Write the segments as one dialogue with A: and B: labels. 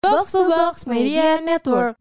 A: Box to Box Media Network.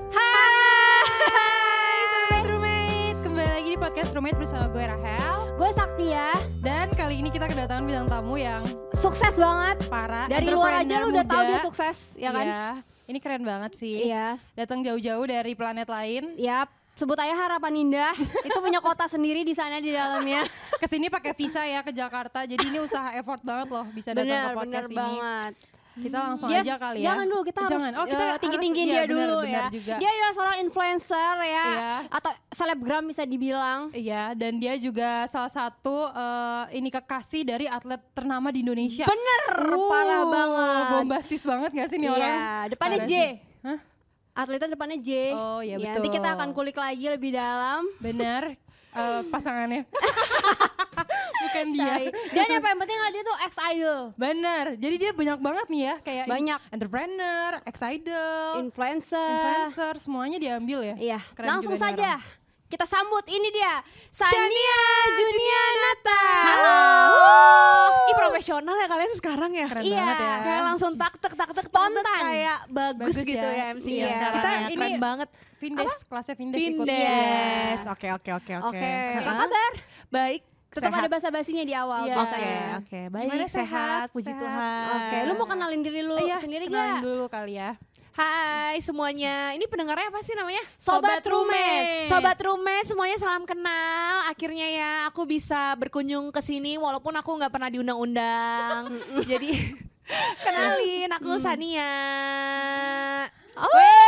B: Hai sahabat roommate, kembali lagi di podcast roommate bersama gue Rahel
C: Gue Sakti ya,
B: dan kali ini kita kedatangan bintang tamu yang
C: sukses banget.
B: para
C: Dari luar aja lu udah tahu dia
B: sukses
C: sukses,
B: Iya.
C: ya kan?
B: ini keren banget sih.
C: Iya.
B: Datang jauh-jauh dari planet lain.
C: Yap, sebut aja harapan indah. itu punya kota sendiri di sana di dalamnya.
B: Kesini pakai visa ya ke Jakarta. Jadi ini usaha effort banget loh bisa datang
C: bener,
B: ke
C: bener
B: podcast ini.
C: banget.
B: Kita langsung
C: Dia-
B: aja kali ya.
C: Jangan dulu kita harus
B: Jangan. Oh, kita
C: eh, tinggi-tinggiin
B: harus- iya,
C: dia
B: benar,
C: dulu
B: benar
C: ya.
B: juga.
C: Dia adalah seorang influencer ya,
B: Iya.
C: atau selebgram bisa dibilang.
B: Iya, dan dia juga salah satu eh, ini kekasih dari atlet ternama di Indonesia.
C: Bener, parah banget.
B: Bombastis banget gak sih nih
C: Iya,
B: orang?
C: depannya
B: Parah
C: J.
B: sih. Hah?
C: Atletnya depannya J.
B: Oh, iya,
C: Nanti
B: betul.
C: kita akan kulik lagi lebih dalam.
B: Benar. eh, pasangannya. Bukan
D: Iya.
B: dia.
C: Tai. Dan yang paling penting adalah dia tuh ex idol.
B: Benar. Jadi dia banyak banget nih ya kayak
C: Banyak.
B: entrepreneur, ex-idol,
C: influencer.
B: influencer, semuanya diambil ya.
C: Iya,
B: Keren
C: langsung
B: juga nih
C: saja
B: orang.
C: kita sambut ini dia Sania.
B: Shania Junianata.
C: Halo.
D: Ih profesional ya kalian sekarang ya.
B: Keren
C: Iya.
B: banget ya.
D: Kayak langsung tak tek tak tek
C: Spontan.
D: tak, tek, kayak bagus,
B: Bagus
D: gitu
B: ya.
D: ya MC nya
C: Iya.
D: sekarang.
B: Kita
D: ya.
B: ini-
D: keren banget.
B: Vindes, kelasnya Vindes, ikut. Iya.
D: Vindes. Oke oke oke oke.
C: Oke, apa
D: Hah?
C: kabar?
D: Baik.
C: Tetap
D: sehat.
C: ada basa-basinya di
B: Iya.
C: awal
D: Oke
C: biasanya.
D: oke. Baik
B: Gimana
D: sehat,
B: sehat?
D: puji
B: Sehat.
D: Tuhan. kan?
C: Oke, lu mau kenalin diri lu
B: Iya,
C: sendiri
B: kenalan
C: gak?
B: dulu kali ya.
D: Hai semuanya. Ini pendengarnya apa sih namanya?
B: Sobat Roommate.
D: Sobat roommate semuanya salam kenal. Akhirnya ya aku bisa berkunjung ke sini walaupun aku nggak pernah diundang-undang. Jadi kenalin aku Sania.
C: Oh.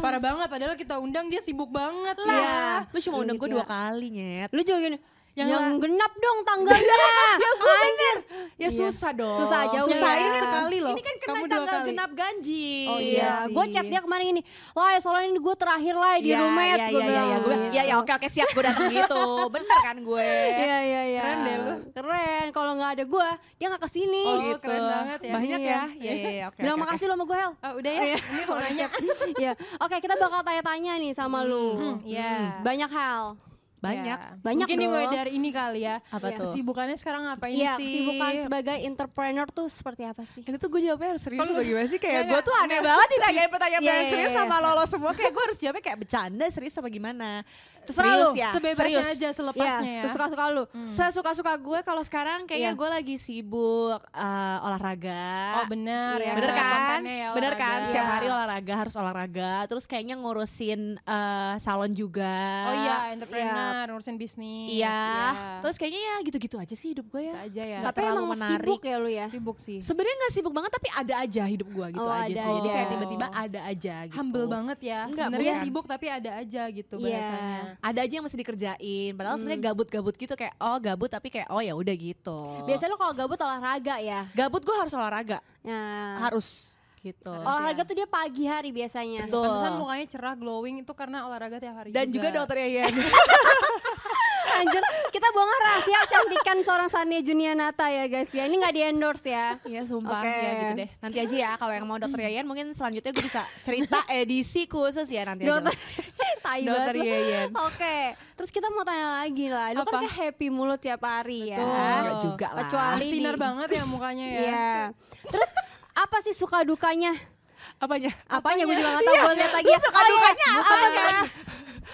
B: Parah banget padahal kita undang dia sibuk banget ya. lah.
D: Iya, lu cuma
C: Lu
D: undang gue
C: gitu
D: dua
C: ya.
D: kali, Nyet.
C: Lu juga gini. Yang,
B: Yang
C: genap dong tanggalnya.
D: Ya gue bener. Ya susah dong.
C: Susah, jauh
D: susah.
C: ya.
D: Ini kan
B: Sekali loh.
D: Ini kan kena
B: Kamu dua
D: tanggal
B: kali.
D: genap ganjil.
B: Oh,
C: iya,
B: Iya
C: gue
B: sih.
C: chat dia kemarin ini. Lah, ya soalnya ini gue terakhir lah di
D: Iya,
C: roommate.
D: Iya,
C: gua
D: iya, iya,
C: bilang.
D: gue, iya, iya, oke, oke, siap, gue datang gitu, bener kan gue?
C: Iya, iya, iya.
B: Keren deh lu.
C: Keren. Kalau nggak ada gue, dia nggak kesini.
B: Oh, keren banget ya.
D: gitu. Banyak
C: Iya.
D: ya, iya, iya, iya, oke.
C: bilang
D: oke, oke.
C: makasih lo sama gue, Hel.
B: Ah, udah ya. Ini mau nanya.
C: Oh, Iya. Oke, kita bakal tanya-tanya nih sama lu.
D: Hmm,
B: Iya.
C: Banyak hal.
D: Banyak.
B: Iya.
C: Banyak
B: Mungkin dimulai
C: dong.
B: dari ini kali ya.
D: Apa
B: Iya.
D: tuh?
B: Kesibukannya sekarang ngapain
C: Iya,
B: sih?
C: kesibukan sebagai entrepreneur tuh seperti apa sih?
D: Ini tuh gue jawabnya harus serius Kalau gimana sih? Kayak
B: Nggak,
D: gue tuh aneh banget ditanyain pertanyaan
C: Iya, iya,
D: serius
C: iya.
D: sama lolo semua Kayak gue harus jawabnya kayak bercanda, serius apa gimana
C: Terserah
D: Serius
C: lu,
D: ya,
B: Sebebasnya
D: serius. Iya,
B: aja selepasnya ya.
C: Iya, sesuka-suka lu.
D: Hmm. Sesuka-suka gue kalau sekarang
C: Iya.
D: kayaknya gue lagi sibuk eh, olahraga
B: Oh benar
C: Iya.
B: ya.
D: Bener
B: ada
D: kan?
B: kontennya ya,
D: Bener kan?
B: olahraga.
D: Setiap hari olahraga harus olahraga. Terus kayaknya ngurusin eh, salon juga.
B: Oh iya, entrepreneur, ngurusin bisnis.
D: Iya.
B: Terus
D: Terus kayaknya ya gitu-gitu aja sih hidup
B: Gitu
D: gue ya.
B: aja ya.
D: Nggak
C: Tapi
D: terlalu
C: emang
D: menarik.
C: sibuk ya lu ya?
B: Sibuk sih.
D: Sebenarnya nggak sibuk banget tapi ada aja hidup gue gitu
C: Oh,
D: aja
C: ada
D: sih. Jadi
C: aja.
D: kayak tiba-tiba ada aja gitu.
B: ya. Humble banget ya.
D: Enggak,
B: Sebenarnya
D: bukan.
B: sibuk tapi ada aja gitu
C: Iya.
B: bahasanya.
D: Ada aja yang masih dikerjain. Padahal
B: Hmm.
D: sebenarnya gabut-gabut gitu kayak oh gabut tapi kayak oh ya udah gitu.
C: Biasanya lu kalau gabut olahraga ya.
D: gabut gue harus olahraga.
B: Ah.
C: Nah,
D: Harus gitu.
B: Harus.
C: olahraga tuh dia pagi hari biasanya.
B: Oh,
D: Betul.
B: iya. Pantesan mukanya cerah glowing itu karena olahraga tiap hari.
D: Dan juga dokternya Yen.
C: Anjir, kita bongkar rahasia kecantikan seorang Sania Junianata ya guys ya. Ini nggak di endorse ya.
D: Iya sumpah
C: Oke.
D: ya gitu deh. Nanti aja ya kalau yang mau dokter Yayan mungkin selanjutnya gue bisa cerita edisi khusus ya nanti aja.
C: Dokter
D: lah.
C: tai
D: Dokter
C: banget lu.
D: Yayan.
C: Oke, terus kita mau tanya lagi lah. Lu kan
D: Apa?
C: kayak happy mulu tiap hari
B: Betul.
C: ya.
D: Enggak juga lah.
C: Kecuali di-
B: sinar banget ya mukanya ya.
C: Iya. Terus apa sih suka dukanya?
D: Apanya?
C: Apanya gue juga gak tau, gue lihat lagi ya.
D: suka dukanya apa,
C: ya?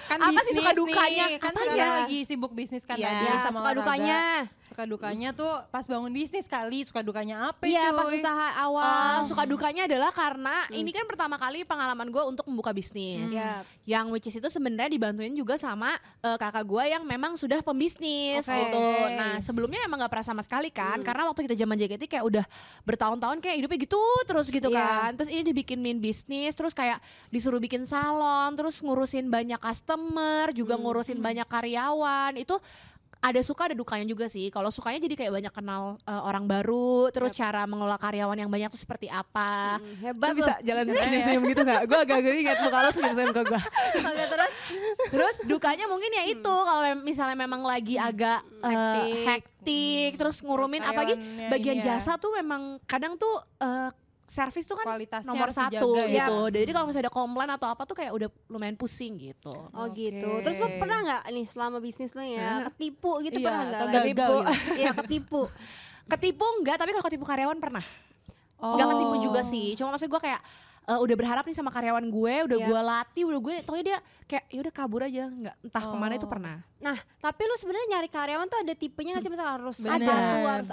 B: Kan
D: Apa sih
B: bisnis
D: suka dukanya?
B: Nih. Kan
D: Apanya?
B: sekarang lagi sibuk bisnis kan
D: Iya.
B: tadi
C: Ya,
B: sama
C: suka
B: olahraga.
C: dukanya.
B: Suka dukanya tuh pas bangun bisnis kali, suka dukanya apa
C: Iya,
B: cuy?
C: pas usaha
D: Uh,
C: awal. Hmm.
D: suka dukanya adalah karena ini kan pertama kali pengalaman gue untuk membuka bisnis.
C: Iya.
D: Yang which is itu sebenarnya dibantuin juga sama uh, kakak gue yang memang sudah pembisnis
B: Oke.
D: gitu. Nah sebelumnya emang nggak pernah sama sekali kan,
C: Hmm.
D: karena waktu kita zaman JKT kayak udah bertahun-tahun kayak hidupnya gitu terus gitu
C: Iya.
D: kan. Terus ini dibikin main bisnis, terus kayak disuruh bikin salon, terus ngurusin banyak customer,
C: Hmm.
D: juga ngurusin banyak karyawan itu. Ada suka ada dukanya juga sih. Kalau sukanya jadi kayak banyak kenal uh, orang baru, terus cara mengelola karyawan yang banyak tuh seperti apa.
C: Hmm, Hebat
D: iya. Lu bisa jalan senyum-senyum gitu gak? Gue agak-agak ingat muka lo senyum-senyum ke gue
C: loh. Oke, terus
D: Terus dukanya mungkin ya itu Kalau mem- misalnya memang lagi agak eh,
B: Hektik.
D: hektik, Hmm. iya. Terus ngurumin Apalagi
B: Karyawannya
D: bagian
B: ini ya.
D: jasa tuh memang Kadang tuh eh, Servis tuh kan
B: Kualitasnya
D: nomor
B: harus
D: satu
B: dijaga ya.
D: gitu Jadi kalau misalnya ada komplain atau apa tuh Kayak udah lumayan pusing gitu
C: Oh
B: Oke.
C: gitu. Terus lu pernah nggak nih selama bisnis lu ya ketipu gitu
B: Iya,
C: pernah nggak?
B: atau
C: Lagi?
B: gagal
C: Iya ketipu.
D: Ketipu enggak Tapi kalau ketipu karyawan pernah
B: Oh.
D: nggak ketipu juga sih cuma maksud gue kayak eh, udah berharap nih sama karyawan gue udah
C: Iya.
D: gue latih udah gue tau dia kayak ya udah kabur aja nggak entah kemana itu
B: Oh.
D: pernah
C: Nah, tapi lu sebenarnya nyari karyawan tuh ada tipenya nggak sih? Misalnya harus
B: Bener.
C: satu, harus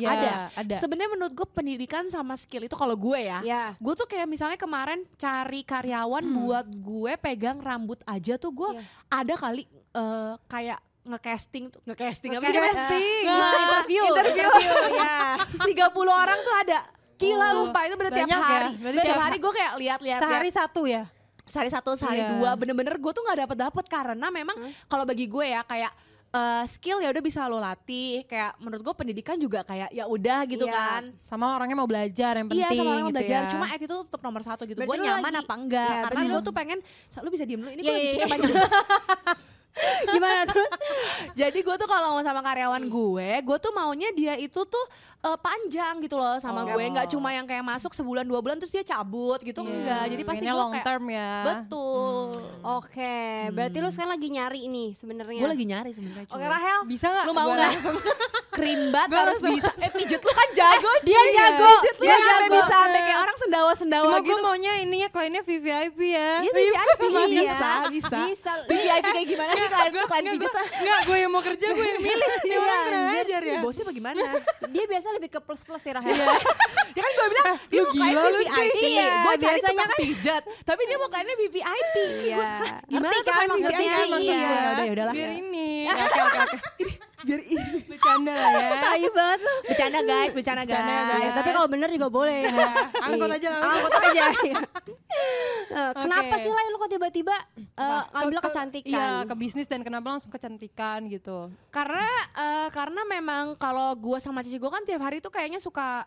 B: Iya,
C: gitu.
D: ada
B: ada. Iya.
D: sebenarnya menurut gue pendidikan sama skill itu kalau gue ya
C: Ya.
D: gue tuh kayak misalnya kemarin cari karyawan
B: Hmm.
D: buat gue pegang rambut aja tuh
C: Iya.
D: gue ada kali eh, kayak ngecasting tuh ngecasting apa sih
C: Nge-
D: casting?
B: Nah,
C: eh, nge-interview.
D: interview
C: ya.
D: 30 orang tuh ada
B: iya.
D: gila
B: Oh.
D: lupa itu bener tiap
B: Banyak ya?
D: hari
B: Berarti
D: tiap
B: tiap
D: hari gue kayak lihat-lihat
B: Sehari satu ya?
D: sehari satu sehari
B: Iya.
D: dua bener-bener gue tuh nggak dapet dapet karena memang kalau bagi gue ya kayak eh, skill ya udah bisa lo latih kayak menurut gue pendidikan juga kayak ya udah gitu
C: Iya.
D: kan
B: Sama orangnya mau belajar yang penting
D: iya sama orang
B: gitu
D: belajar
B: ya.
D: cuma attitude tetap nomor satu gitu
C: Berarti
D: gue
C: lu
D: nyaman
C: lagi-
D: apa enggak
C: Iya,
D: karena
C: berarti
D: gue
C: lu-
D: tuh pengen sa- lu bisa diem lu
C: Iya,
D: ini gue lagi
C: iya,
D: cerita
C: iya.
D: banyak eh,
C: Gimana terus?
D: jadi gue tuh kalau mau sama karyawan
B: Hmm.
D: gue gue tuh maunya dia itu tuh eh, panjang gitu loh sama
B: Oh.
D: gue nggak cuma yang kayak masuk sebulan dua bulan terus dia cabut gitu
B: Iya.
D: enggak jadi pasti
B: Pengennya
D: gue
B: long
D: kayak
B: term ya. Hmm.
D: betul
C: Oke, berarti lu sekarang lagi nyari nih sebenarnya.
D: gue Hmm. lagi nyari sebenarnya
C: Oke,
D: cuy.
C: Rahel.
B: Bisa nggak?
D: Lu mau
B: gua
D: nggak?
B: langsung-
D: krimbat
B: Gua
D: harus
B: langsung-
D: bisa eh pijet lu kan jago
B: dia
D: cuy.
B: jago,
D: Pijet lu
B: dia
D: kan sampai
B: jago.
D: bisa sampai kayak orang sendawa sendawa
B: Cuma
D: gitu
B: gue maunya ininya kliennya VVIP ya.
D: Iya, VIP
C: Iya.
D: bisa, bisa.
C: Bisa.
D: VIP kayak gimana sih klien lu klien pijet lah.
B: Enggak, gue yang mau kerja gue yang milih. Ya orang kurang ajar ya.
D: Iya, Bosnya bagaimana?
C: Dia biasa lebih ke plus-plus sih Rahel.
D: ya kan gue bilang, dia
B: lu gitu."
D: mau
B: gila,
D: kliennya
B: lu cuy.
D: VIP.
C: Iya,
D: gue cari
C: biasanya
D: tukang pijat. Tapi dia mau kliennya VIP.
C: Iya.
D: Gimana
C: Ngerti
D: tuh
C: kan
D: kan
C: maksudnya?
D: maksudnya?
C: Iya.
D: Maksudnya. Ya udah, ya udahlah.
B: Biar ini. Oke, oke, oke. Biar ini. Bercanda lah ya.
C: Tai banget lu.
D: Bercanda guys, bercanda
B: Bercanda,
D: guys.
B: guys.
C: Tapi kalau bener juga boleh. ya.
B: Angkot aja langsung.
C: Angkut aja. iya. Eh, Kenapa
B: Oke.
C: sih lain lu kok tiba-tiba eh, ngambil kecantikan?
B: Iya, ke bisnis dan kenapa langsung kecantikan gitu.
D: Karena eh, karena memang kalau gue sama cici gue kan tiap hari tuh kayaknya suka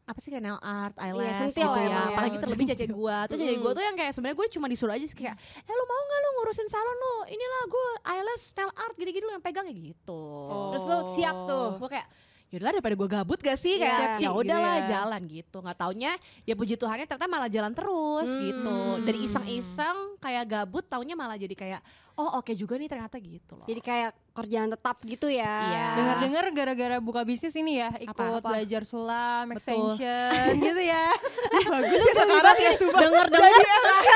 D: apa sih kayak nail art, eyelash
C: sentil
D: gitu
C: lah
D: ya.
C: emang ya.
D: Apalagi terlebih cece gue. Terus cece gue tuh yang kayak sebenarnya gue cuma disuruh aja sih kayak, "Eh lu mau nggak lu ngurusin salon lu? Inilah gue eyelash, nail art gini-gini lu yang pegang ya gitu."
C: Terus lu siap tuh.
D: Gue kayak Yaudah daripada gue gabut gak Oh.
C: Iya.
D: sih kayak
B: Siap, Ci,
D: ya udahlah
B: gitu ya.
D: jalan gitu nggak taunya ya puji Tuhannya ternyata malah jalan terus gitu dari iseng-iseng kayak gabut taunya malah jadi kayak oh oke juga nih ternyata gitu loh
C: Jadi kayak kerjaan tetap gitu ya.
D: Iya.
B: Dengar-dengar gara-gara buka bisnis ini ya, ikut
D: Apa?
B: belajar sulam,
D: Betul.
B: extension gitu ya.
D: Bagus ya sekarang ya sumpah. Denger-denger. eh,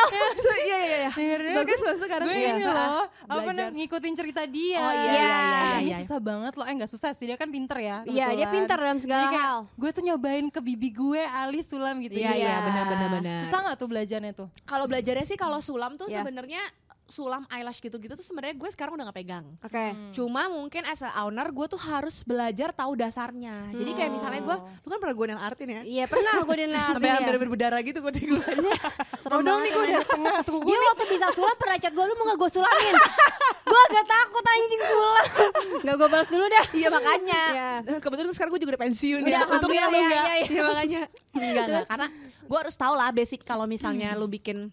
D: Iya iya iya.
B: Dengar-dengar
D: Bagus loh sekarang.
B: gue
D: Iya.
B: ini loh apa
D: Belajar.
B: namanya ngikutin cerita dia
D: Oh, iya, iya, iya, iya,
B: ini
D: iya.
B: susah banget loh eh nggak susah sih dia kan pinter ya
C: Iya, dia
B: kebetulan.
C: pintar dalam segala
B: Jadi kayak,
C: hal.
B: gue tuh nyobain ke bibi gue alis sulam gitu
D: Iya
B: Jadi
D: iya
C: Iya.
D: benar benar benar.
B: susah nggak tuh belajarnya tuh
D: Kalau belajarnya sih kalau sulam tuh
C: Iya.
D: sebenarnya sulam eyelash gitu-gitu tuh sebenarnya gue sekarang udah gak pegang.
C: Oke.
D: Cuma mungkin as a owner gue tuh harus belajar tahu dasarnya. Jadi kayak misalnya gue, lu kan pernah gue nail artin ya?
C: Iya pernah gue dengar
D: Sampai hampir berdarah gitu gue tinggal.
C: Iya. Serem dong nih gue udah setengah
B: tuh
C: Dia waktu bisa sulap pernah chat gue, lu mau gak gue sulamin? gue agak takut anjing sulap. Gak gue balas dulu dah.
D: Iya makanya.
C: Iya.
D: Kebetulan sekarang gue juga udah pensiun
C: Udah,
D: ya. Untungnya lu
C: alhamdulillah,
D: enggak.
C: iya,
D: Iya makanya. Enggak enggak karena gue harus tahu lah basic kalau misalnya lu bikin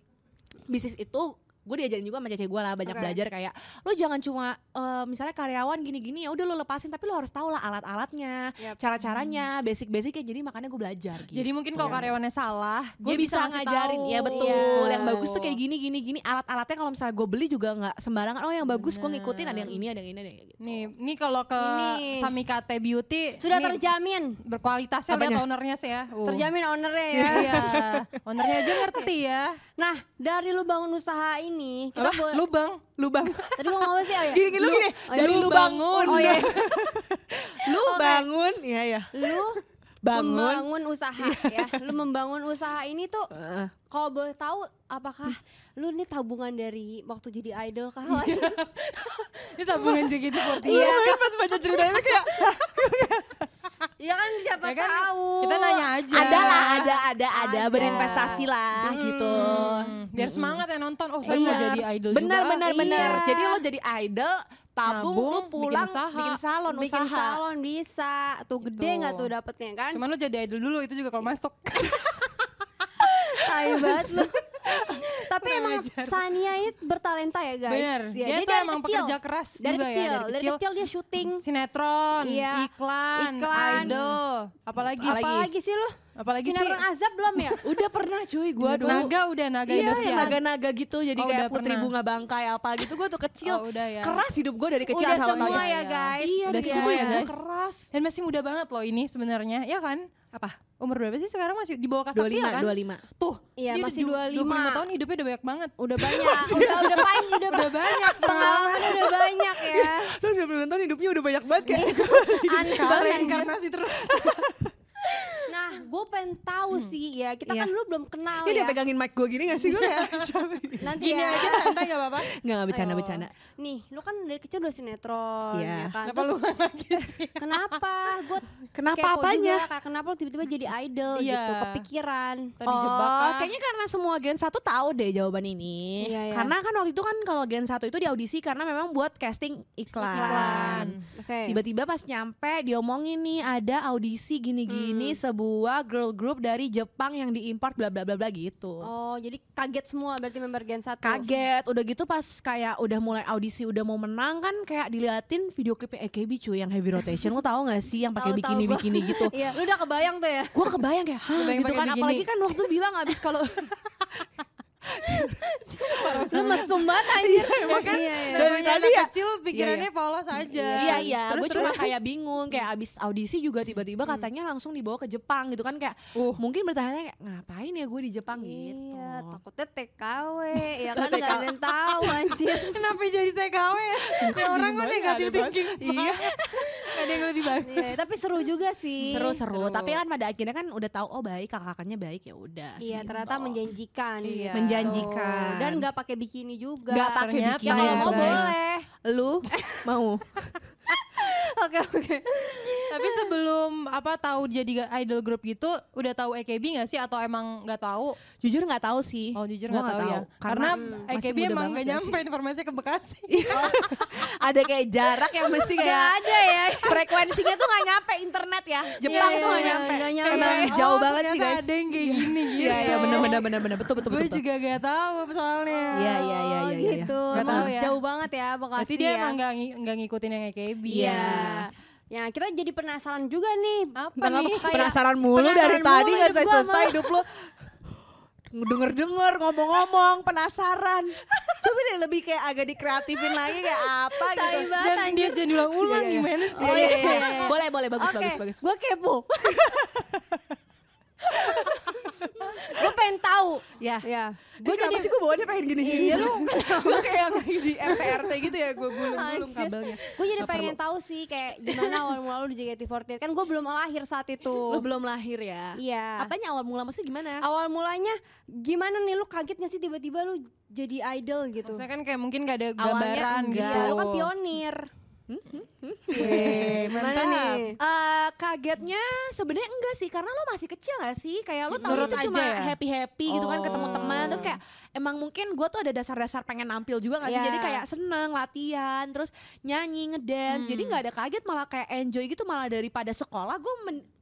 D: bisnis itu gue diajarin juga sama cece gue lah banyak
B: Oke.
D: belajar kayak lu jangan cuma eh, misalnya karyawan gini-gini ya udah lu lepasin tapi lu harus tahu lah alat-alatnya
C: Yap.
D: cara-caranya basic-basicnya Hmm. jadi makanya gue belajar gitu.
B: jadi mungkin kalau karyawannya salah
D: gue
B: dia
D: bisa,
B: ngasih
D: ngajarin
B: tahu.
D: ya betul
C: Iya.
D: yang bagus tuh kayak gini gini gini alat-alatnya kalau misalnya gue beli juga nggak sembarangan oh yang bagus gue ngikutin ada yang ini ada yang ini ada yang ini gitu.
B: nih nih kalau ke
C: Ini.
B: Samikate Beauty
C: Sudah Oh.
B: nih
C: terjamin.
B: berkualitasnya lihat
D: Apanya?
B: ownernya sih ya
D: Oh.
B: Uh.
C: Terjamin ownernya ya.
B: iya ownernya aja ngerti ya
C: Nah, dari lu bangun usaha ini, kita
B: apa
C: boleh...
B: lubang lubang
C: Tadi gue ngomong apa sih? Oh, iya.
D: gini gini lu gini
C: oh,
D: dari
C: lu
D: lu bangun
C: Oh, iya.
D: lu bangun ya ya
C: Lu
D: bangun
C: membangun usaha ya. Lu membangun usaha ini tuh
D: Heeh.
C: kalau boleh tahu apakah lu nih tabungan dari waktu jadi idol kah?
B: Iya. ini tabungan JKT48
D: Iya, pas baca ceritanya tuh kayak
C: Iya kan siapa
B: Ya kan,
C: tahu.
B: kita nanya aja
D: ada lah, ada, ada, ada, berinvestasi lah gitu.
B: Hmm, biar semangat yang nonton oh saya mau
D: Bener.
B: jadi idol
D: benar,
B: juga
D: benar,
C: Iya.
D: benar. Jadi lo jadi idol, tabung,
B: Nabung,
D: lo
B: bikin
D: pulang, bikin,
B: usaha.
D: salon,
C: bikin
D: usaha.
C: salon bisa tuh gede
B: Gitu.
C: nggak tuh dapetnya kan
B: cuman lu jadi idol dulu itu juga kalau masuk
C: tai banget lu tapi emang
B: ngajar.
C: Sania ini bertalenta ya guys
B: Bener.
C: Ya,
B: Dia
C: dia
B: tuh
C: dari
B: emang
C: kecil
B: pekerja keras
C: dari,
B: juga ya,
C: kecil.
B: dari
C: dari
B: kecil.
C: kecil dia syuting
B: sinetron
C: Iya.
B: iklan,
C: Iklan.
B: idol apalagi
D: Apalagi?
C: apalagi sih lu
B: apalagi sih
C: sinetron azab belum ya
D: Udah pernah cuy gue dulu.
B: naga udah naga
D: Iya,
B: Indosiar.
D: yang naga-naga gitu jadi
B: Oh,
D: kayak
B: udah
D: putri
B: pernah.
D: bunga bangkai apa gitu gue tuh kecil.
B: Oh, udah ya.
D: Keras hidup gue dari kecil
C: udah
D: asal lo tau
C: semua
D: ya.
C: ya guys
D: Iya,
B: Udah
D: dari
B: semua
D: kecil
B: ya,
D: hidup gua
B: guys.
D: keras.
B: dan masih muda banget loh ini sebenarnya ya kan Apa? Umur berapa sih sekarang masih di bawah
D: dua
B: kasatria
D: lima
B: kan?
D: dua lima
B: Tuh,
C: Iya,
B: dia
C: masih
B: du-
C: 25.
B: 25 tahun hidupnya udah banyak banget.
C: Udah banyak, Iya, udah udah banyak, udah, banyak pengalaman udah banyak ya.
D: lo udah puluh tahun hidupnya udah banyak banget kayak
B: Iya,
C: Aneh banget.
B: Reinkarnasi terus.
C: Nah, gue pengen tahu sih ya. Kita kan
D: Iya.
C: dulu belum kenal
D: dia udah
C: ya.
D: pegangin mic gue gini gak sih gue ya
C: Nanti
B: Gini
C: ya.
B: aja santai gak apa-apa.
D: nggak nggak bercanda
C: Ayo.
D: bercanda
C: Nih, lu kan dari kecil udah sinetron
D: Iya.
C: ya kan.
B: Kenapa lu
C: Terus
B: lagi sih?
C: kenapa? Gue
D: kenapa
C: kepo
D: apanya
C: juga, kayak kenapa lu tiba-tiba jadi idol
B: Iya.
C: gitu, kepikiran.
B: Tadi jebakan.
D: Oh, kayaknya karena semua Gen 1 tahu deh jawaban ini.
C: Iya, iya.
D: Karena kan waktu itu kan kalau Gen 1 itu di audisi karena memang buat casting iklan. Iya,
B: Iklan.
C: Oke.
D: Tiba-tiba pas nyampe diomongin nih ada audisi
C: Hmm.
D: gini-gini sebuah girl group dari Jepang yang diimpor bla bla bla bla gitu.
C: Oh, jadi kaget semua berarti member Gen 1.
D: Kaget, udah gitu pas kayak udah mulai audisi udah mau menang kan kayak diliatin video klipnya AKB cuy yang heavy rotation. Lo tau gak sih yang pakai
C: Tahu, tahu gua.
D: bikini-bikini gitu?
C: Iya, lu udah kebayang tuh ya.
D: Gue kebayang kayak, hah
B: Kebayang
D: gitu
B: pakai
D: kan.
B: bikini.
D: Apalagi kan waktu bilang abis kalau
C: Lu mesum banget anjir. Iya, kan? Iya, iya.
B: Dari
D: tadi
B: tadi
D: ya?
B: kecil pikirannya polos aja.
D: Iya iya,
B: Terus
D: gue cuma
B: terus. Hmm.
D: kayak bingung kayak abis audisi juga tiba-tiba katanya langsung dibawa ke Jepang gitu kan kayak
B: Uh.
D: mungkin bertanya kayak ngapain ya gue di Jepang gitu.
C: Iya, takutnya TKW, ya kan enggak ada yang tahu anjir.
B: Kenapa jadi TKW ya? Ya orang kok negatif thinking.
D: Iya.
B: Gak ada yang lebih bagus.
C: Iya, tapi seru juga sih.
D: Seru-seru,
B: Seru.
D: tapi kan pada akhirnya kan udah tahu oh baik kakak-kakaknya baik ya udah.
C: Iya,
D: gitu.
C: ternyata menjanjikan.
B: Iya.
C: gitu.
D: Menjanjikan.
C: Dan nggak pakai bikini juga.
D: Nggak pakai
B: Ternyata
D: bikini.
C: Ya, kalau mau
B: guys.
C: boleh.
D: Lu mau?
C: Oke, oke.
B: Tapi sebelum apa tahu jadi ga- idol group gitu, udah tahu AKB gak sih atau emang gak tahu?
D: Jujur nggak tahu sih.
B: Oh jujur
D: Gua
B: gak tahu ya.
D: Karena,
B: Karena,
D: masih
B: AKB
D: muda
B: emang
D: banget
B: gak
D: ya
B: nyampe informasinya ke Bekasi.
D: sih. ada kayak jarak yang mesti
C: Nggak
D: kayak
C: ada ya.
D: frekuensinya tuh nggak nyampe internet ya. Jepang
C: Iya,
D: tuh nggak
C: iya,
D: nyampe.
C: nggak nyampe.
D: Emang
B: Kayak,
D: jauh
B: oh,
D: banget sih
B: ternyata
D: guys.
B: ada yang kayak gini gitu.
D: Iya iya benar benar benar benar betul betul
B: Gue
D: betul. betul.
B: juga gak tahu soalnya.
D: Iya iya iya
C: Oh,
D: iya iya.
C: gitu.
B: Nggak
C: Emang
B: tahu ya.
C: Jauh banget ya Bekasi
B: Berarti dia
C: ya.
B: emang gak, ngi- nggak ngikutin yang AKB.
C: Iya. Ya, kita jadi penasaran juga nih.
B: Apa
D: Kenapa
B: nih?
C: Kayak
D: penasaran mulu dari
C: penasaran mulu
D: tadi gak
C: hidup gua
D: selesai-selesai
C: sama-
D: hidup lu Denger-denger, ngomong-ngomong, penasaran Coba deh lebih kayak agak dikreatifin lagi kayak apa gitu
C: Tai banget
B: Dan
C: anjir.
B: ya. dia jadi ulang-ulang
D: Iya, iya.
B: gimana sih?
D: Oh iya, iya, iya, iya. Boleh, boleh, bagus,
C: Oke,
D: bagus, bagus
C: Gue kepo. gue pengen tahu.
D: Ya,
C: Ya.
D: gue
C: Gue jadi
D: sih gue bawaannya pengen gini-gini
C: Iya, lu
D: Lu kayak yang lagi di MPRT gitu ya, gue gulung-gulung
C: Anjir.
D: kabelnya
C: Gue jadi
D: Nggak
C: pengen tahu sih kayak gimana awal mula lu di JKT48 kan gue belum lahir saat
D: perlu. Lu
C: itu.
D: belum lahir ya?
C: Iya.
D: Apanya awal mula maksudnya gimana?
C: Awal mulanya gimana nih lu kaget gak sih tiba-tiba lu jadi idol gitu?
B: Maksudnya kan kayak mungkin gak ada
D: Awalnya
B: gambaran
D: enggak.
B: gitu.
C: Iya, lu kan pionir.
B: Yeay,
C: Gimana
B: mantap
C: nih?
D: Eh, kagetnya sebenarnya enggak sih karena lo masih kecil gak sih kayak lo tau
B: Nurut
D: itu cuma
B: aja ya?
D: happy happy gitu kan ketemu
B: Oh.
D: teman terus kayak emang mungkin gue tuh ada dasar-dasar pengen nampil juga gak sih
C: Iya.
D: jadi kayak seneng latihan terus nyanyi ngedance
C: Hmm.
D: jadi nggak ada kaget malah kayak enjoy gitu malah daripada sekolah gue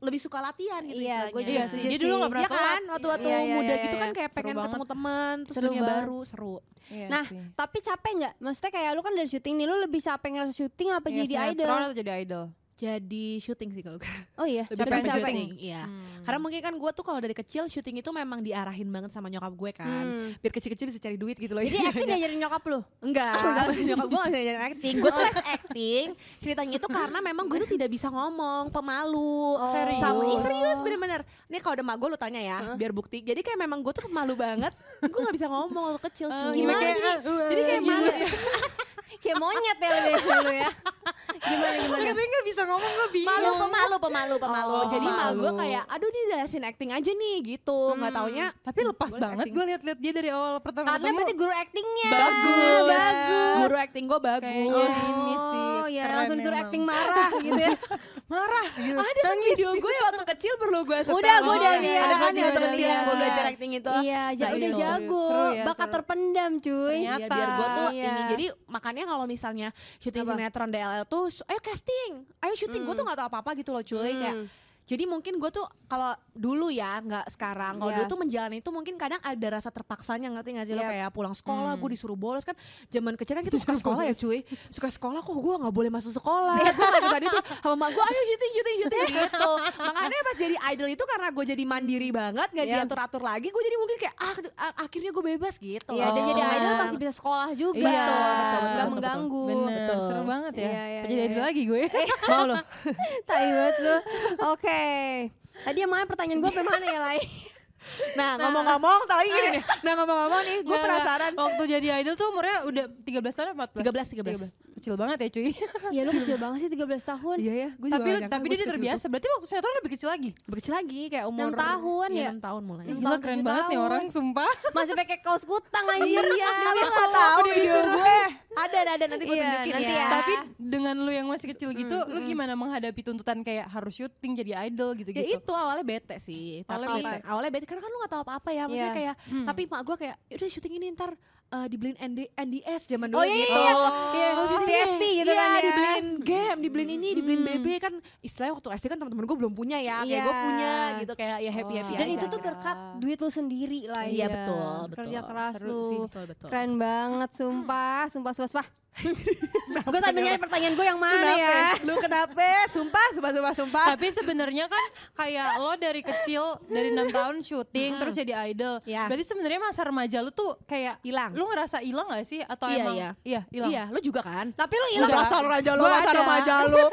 D: lebih suka latihan gitu
C: Iya, gua
D: istilahnya.
C: juga
B: Iya sih, dia dulu gak pernah
D: Iya kan,
B: telat.
D: waktu-waktu
C: Iya, iya,
D: muda
C: iya,
D: gitu
C: iya.
D: kan kayak
B: Seru
D: pengen
B: banget.
D: ketemu teman, terus
C: Seru
D: dunia
C: banget.
D: baru, seru.
B: Iya
C: Nah,
B: sih.
C: tapi capek nggak? Maksudnya kayak lu kan dari syuting nih, lu lebih capek ngerasa syuting apa
B: Iya,
C: jadi
B: sinetron
C: idol?
B: atau jadi idol?
D: Jadi syuting sih kalau gue.
C: Oh iya,
D: lebih
B: Capek
D: capek
B: syuting.
D: syuting, iya.
B: Hmm.
D: Karena mungkin kan gue tuh kalau dari kecil syuting itu memang diarahin banget sama nyokap gue kan.
C: Hmm.
D: Biar kecil-kecil bisa cari duit gitu loh.
C: Jadi acting ya? diajarin nyokap lu?
D: Enggak, nyokap gue gak bisa ngajarin acting Gue tuh les acting, ceritanya itu karena memang gue tuh tidak bisa ngomong, pemalu
B: Serius?
D: Sama, Ih, serius bener-bener Ini kalau udah mago lu tanya ya, biar bukti Jadi kayak memang gue tuh pemalu banget Gue gak bisa ngomong waktu kecil cuy.
C: gimana
D: Jadi-
B: iya, kayak,
D: Jadi, kayak malu ya
C: Kayak monyet ya lebih dulu ya. Gimana gimana?
B: Katanya gak bisa ngomong, gue
D: Malu,
B: bingung.
D: pemalu, pemalu, pemalu
B: Iya. Oh,
D: Jadi malu gue
B: pemalu.
D: kayak, aduh dia lesin acting aja nih gitu Gak taunya
B: Tapi lepas
D: Gua
B: banget
D: acting.
B: gue liat-liat dia dari awal pertama
C: Karena
B: ketemu.
C: berarti guru actingnya.
D: Bagus,
C: bagus.
D: Guru acting gue bagus
B: Kayaknya ini sih.
C: Oh ya
B: keren
C: langsung disuruh
B: emang.
C: acting marah gitu ya.
B: marah gitu.
D: Ada kan video gue yang waktu kecil perlu gue setel.
C: Udah, gua udah
D: Ada
C: liat, gua
D: kan yang
C: udah
D: temen yang gue
C: liat.
D: belajar acting itu.
C: Iya,
D: Nah,
C: jadi udah
D: itu.
C: jago,
B: Seru ya,
C: bakat
B: seru.
C: terpendam cuy.
D: Iya,
B: Ternyata.
D: biar gue tuh
C: Iya.
D: ini jadi makanya kalau misalnya syuting
C: Apa?
D: sinetron DLL tuh su- ayo casting, ayo syuting gue tuh nggak tahu apa apa gitu loh cuy kayak
C: Hmm.
D: jadi mungkin gue tuh kalau dulu ya nggak sekarang kalau
C: Iya.
D: dulu tuh menjalani itu mungkin kadang ada rasa terpaksanya ngerti nggak sih lo
C: Yap.
D: kayak pulang sekolah
C: Hmm.
D: gue disuruh bolos kan zaman kecil kan kita suka sekolah ya cuy suka sekolah kok gue nggak boleh masuk sekolah
C: Iya.
D: gue nggak tadi tuh sama mak gue ayo syuting syuting syuting gitu makanya pas jadi idol itu karena gue jadi mandiri banget nggak
C: Iya.
D: diatur atur lagi gue jadi mungkin kayak ah aduh, ah, akhirnya gue bebas gitu
C: Iya, dan
D: loh.
C: jadi
D: Seneng.
C: idol pasti bisa sekolah juga.
D: Iya, betul, betul, betul,
C: Nggak
D: betul,
C: mengganggu.
B: Bener, seru banget ya.
C: Iya, iya,
B: Jadi
C: iya,
B: ada
C: iya.
B: lagi gue.
D: mau lo
C: Tai banget lu. Oke. Tadi yang mana pertanyaan gue mana ya Lai?
D: Nah, ngomong-ngomong, tadi gini nih. Oh, Nah, ngomong-ngomong nih, gue
B: Nggak,
D: penasaran.
B: nggak. Waktu jadi idol tuh umurnya udah 13 tahun apa 14?
D: 13.
B: Kecil banget ya cuy.
C: ya lu kecil banget sih 13 tahun.
D: Iya ya, gue Iya,
B: tapi lu- tapi dia udah terbiasa. Berarti waktu sinetron lebih kecil lagi.
D: Berkecil lagi kayak umur
C: Enam tahun
D: Iya,
C: ya?
D: enam tahun mulai.
C: Enam
B: Gila
C: tahun,
B: keren
C: tujuh
B: banget nih
C: tahun.
B: orang, sumpah.
C: Masih pakai kaos kutang anjir.
D: Iya, lu
C: Demi
D: gak
C: Allah,
D: tahu
C: aku
D: video
C: disuruh-
D: gue. Ada, ada, ada nanti gue
C: Iya,
D: tunjukin
C: nanti
D: ya.
C: ya.
B: Tapi dengan lu yang masih kecil gitu,
D: Mm,
B: lu gimana menghadapi tuntutan kayak harus syuting jadi idol
D: Ya
C: gitu.
B: gitu-gitu?
D: itu awalnya bete sih, tapi
B: Awalnya bete.
D: awalnya bete karena kan lu gak tahu apa-apa ya, maksudnya
C: Iya.
D: kayak tapi mak gue kayak "Ya udah syuting ini ntar eh, dibeliin ND, NDS zaman
C: Oh
D: dulu
C: iya,
D: gitu.
C: iya.
D: Iya,
C: Iya,
D: terus ini,
C: PSP gitu kan
D: iya,
C: ya. Hmm.
D: dibeliin game, dibeliin ini, dibeliin BB kan istilahnya waktu SD kan teman-teman gue belum punya ya, kayak gue
C: Iya.
D: punya gitu kayak ya happy happy
C: Dan itu tuh berkat duit lu sendiri lah
D: Iya, betul, betul.
C: Kerja keras
D: Seru
C: lu.
D: sih, betul, betul. Hmm.
C: Keren banget sumpah, sumpah sumpah. sumpah. gue sambil nyari pertanyaan gue yang mana
D: kenapa?
C: ya?
D: Lu kenapa? Sumpah, sumpah, sumpah, sumpah.
B: Tapi sebenarnya kan kayak lo dari kecil dari enam tahun syuting terus jadi idol.
D: Iya.
B: Berarti sebenarnya masa remaja lu tuh kayak
D: Hilang.
B: Lu ngerasa hilang gak sih atau
D: Iya,
B: emang
D: iya.
B: hilang.
D: Iya, lu juga kan?
C: Tapi lu
D: Lu
C: hilang
D: masa remaja lu,
C: Gua
D: masa
C: ada.
D: remaja lu.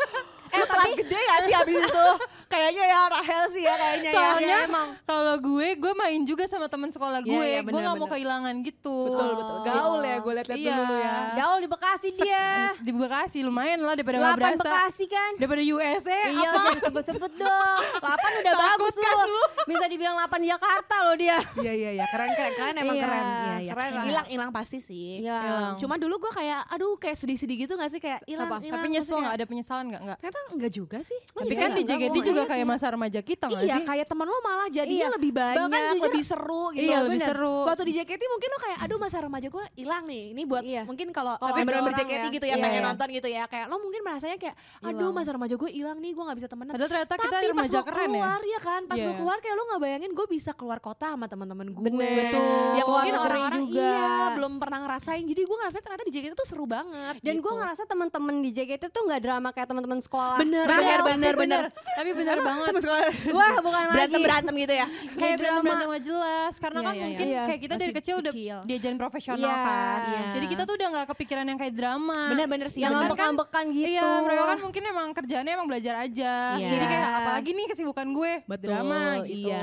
C: Eh,
D: lu telat
C: tapi-
D: gede gak sih abis itu? Kayaknya ya Rahel sih ya kayaknya ya.
B: Soalnya
C: Iya, emang.
B: kalau gue, gue main juga sama teman sekolah
D: Iya,
B: gue.
D: iya,
B: gue gak mau
D: benar-benar.
B: kehilangan gitu.
D: Betul, betul. Gaul ya gue liat-liat
B: Iya. ya.
D: dulu ya.
C: Gaul di Bekasi dia.
B: Di Bekasi lumayan lah daripada nggak
C: Lapan
B: berasa.
C: Bekasi kan?
B: Daripada USA
C: Iya,
B: apa?
C: jangan sebut-sebut dong. Lapan udah
D: Takut
C: bagus
D: kan
C: loh.
D: lu?
C: Bisa dibilang lapan Jakarta loh dia.
D: Iya iya iya keren keren keren emang
C: Iya,
D: keren iya iya
C: keren lah.
D: hilang hilang pasti sih
C: Hilang.
D: Hilang. cuma dulu gue kayak aduh kayak sedih sedih gitu gak sih kayak hilang
B: Apa?
D: hilang
B: Tapi
D: Terus
B: nyesel
D: kayak-
B: gak? Ada penyesalan gak? Enggak.
D: ternyata enggak juga sih Lu
B: Tapi
D: bisa
B: kan
D: nggak?
B: di
D: Enggak,
B: JGD
D: gua nggak
B: juga
D: ingat.
B: kayak masa remaja kita gak
D: Iya
B: sih?
D: kayak teman lo malah jadinya
C: Iya.
D: lebih banyak
C: Bahkan jujur-
D: lebih seru gitu
B: Iya, lebih
D: bener.
B: seru.
D: Waktu di JKT mungkin lo kayak aduh masa remaja gue hilang nih Ini buat
C: Iya.
D: mungkin kalau
C: Kalau ada
D: member-member
C: orang
D: JKT
C: ya.
D: gitu ya
C: Iya,
D: pengen
C: iya.
D: nonton gitu ya Kayak lo mungkin merasanya kayak aduh
B: Hilang.
D: masa remaja gue hilang nih gue gak bisa temenan
B: Padahal ternyata kita
D: Tapi pas
B: remaja
D: lo
B: keren ya.
D: keluar ya kan Pas
B: Iya.
D: lo keluar kayak lo gak bayangin gue bisa keluar kota sama teman-teman gue
C: Bener.
D: Yang
C: Keluar
D: mungkin
C: negeri
D: orang-orang
C: juga.
D: iya belum pernah ngerasain Jadi gue ngerasa ternyata di JKT tuh seru banget
C: Dan
D: gitu.
C: gue ngerasa teman-teman di JKT tuh nggak drama kayak teman-teman sekolah.
D: Bener,
C: Bahel
D: bener,
C: sih,
D: bener, bener.
B: Tapi bener banget.
D: Temen sekolah.
C: Wah, bukan lagi.
D: Berantem-berantem gitu ya
B: Kayak
C: Iya,
B: berantem
C: drama.
B: berantem gak jelas karena
D: Iya,
B: kan
D: iya,
B: mungkin
C: iya.
B: kayak kita dari
D: Masih
B: kecil udah
D: kecil.
B: diajarin profesional
C: Iya.
B: kan.
D: Iya.
B: Jadi kita tuh udah nggak kepikiran yang kayak drama.
D: Bener-bener sih
C: Yang
B: bener kan?
C: ngambek-ngambekan gitu.
B: Iya, mereka kan mungkin emang kerjaannya emang belajar aja.
D: Iya.
B: Jadi kayak apalagi nih kesibukan gue
D: Betul,
B: drama gitu.
D: iya.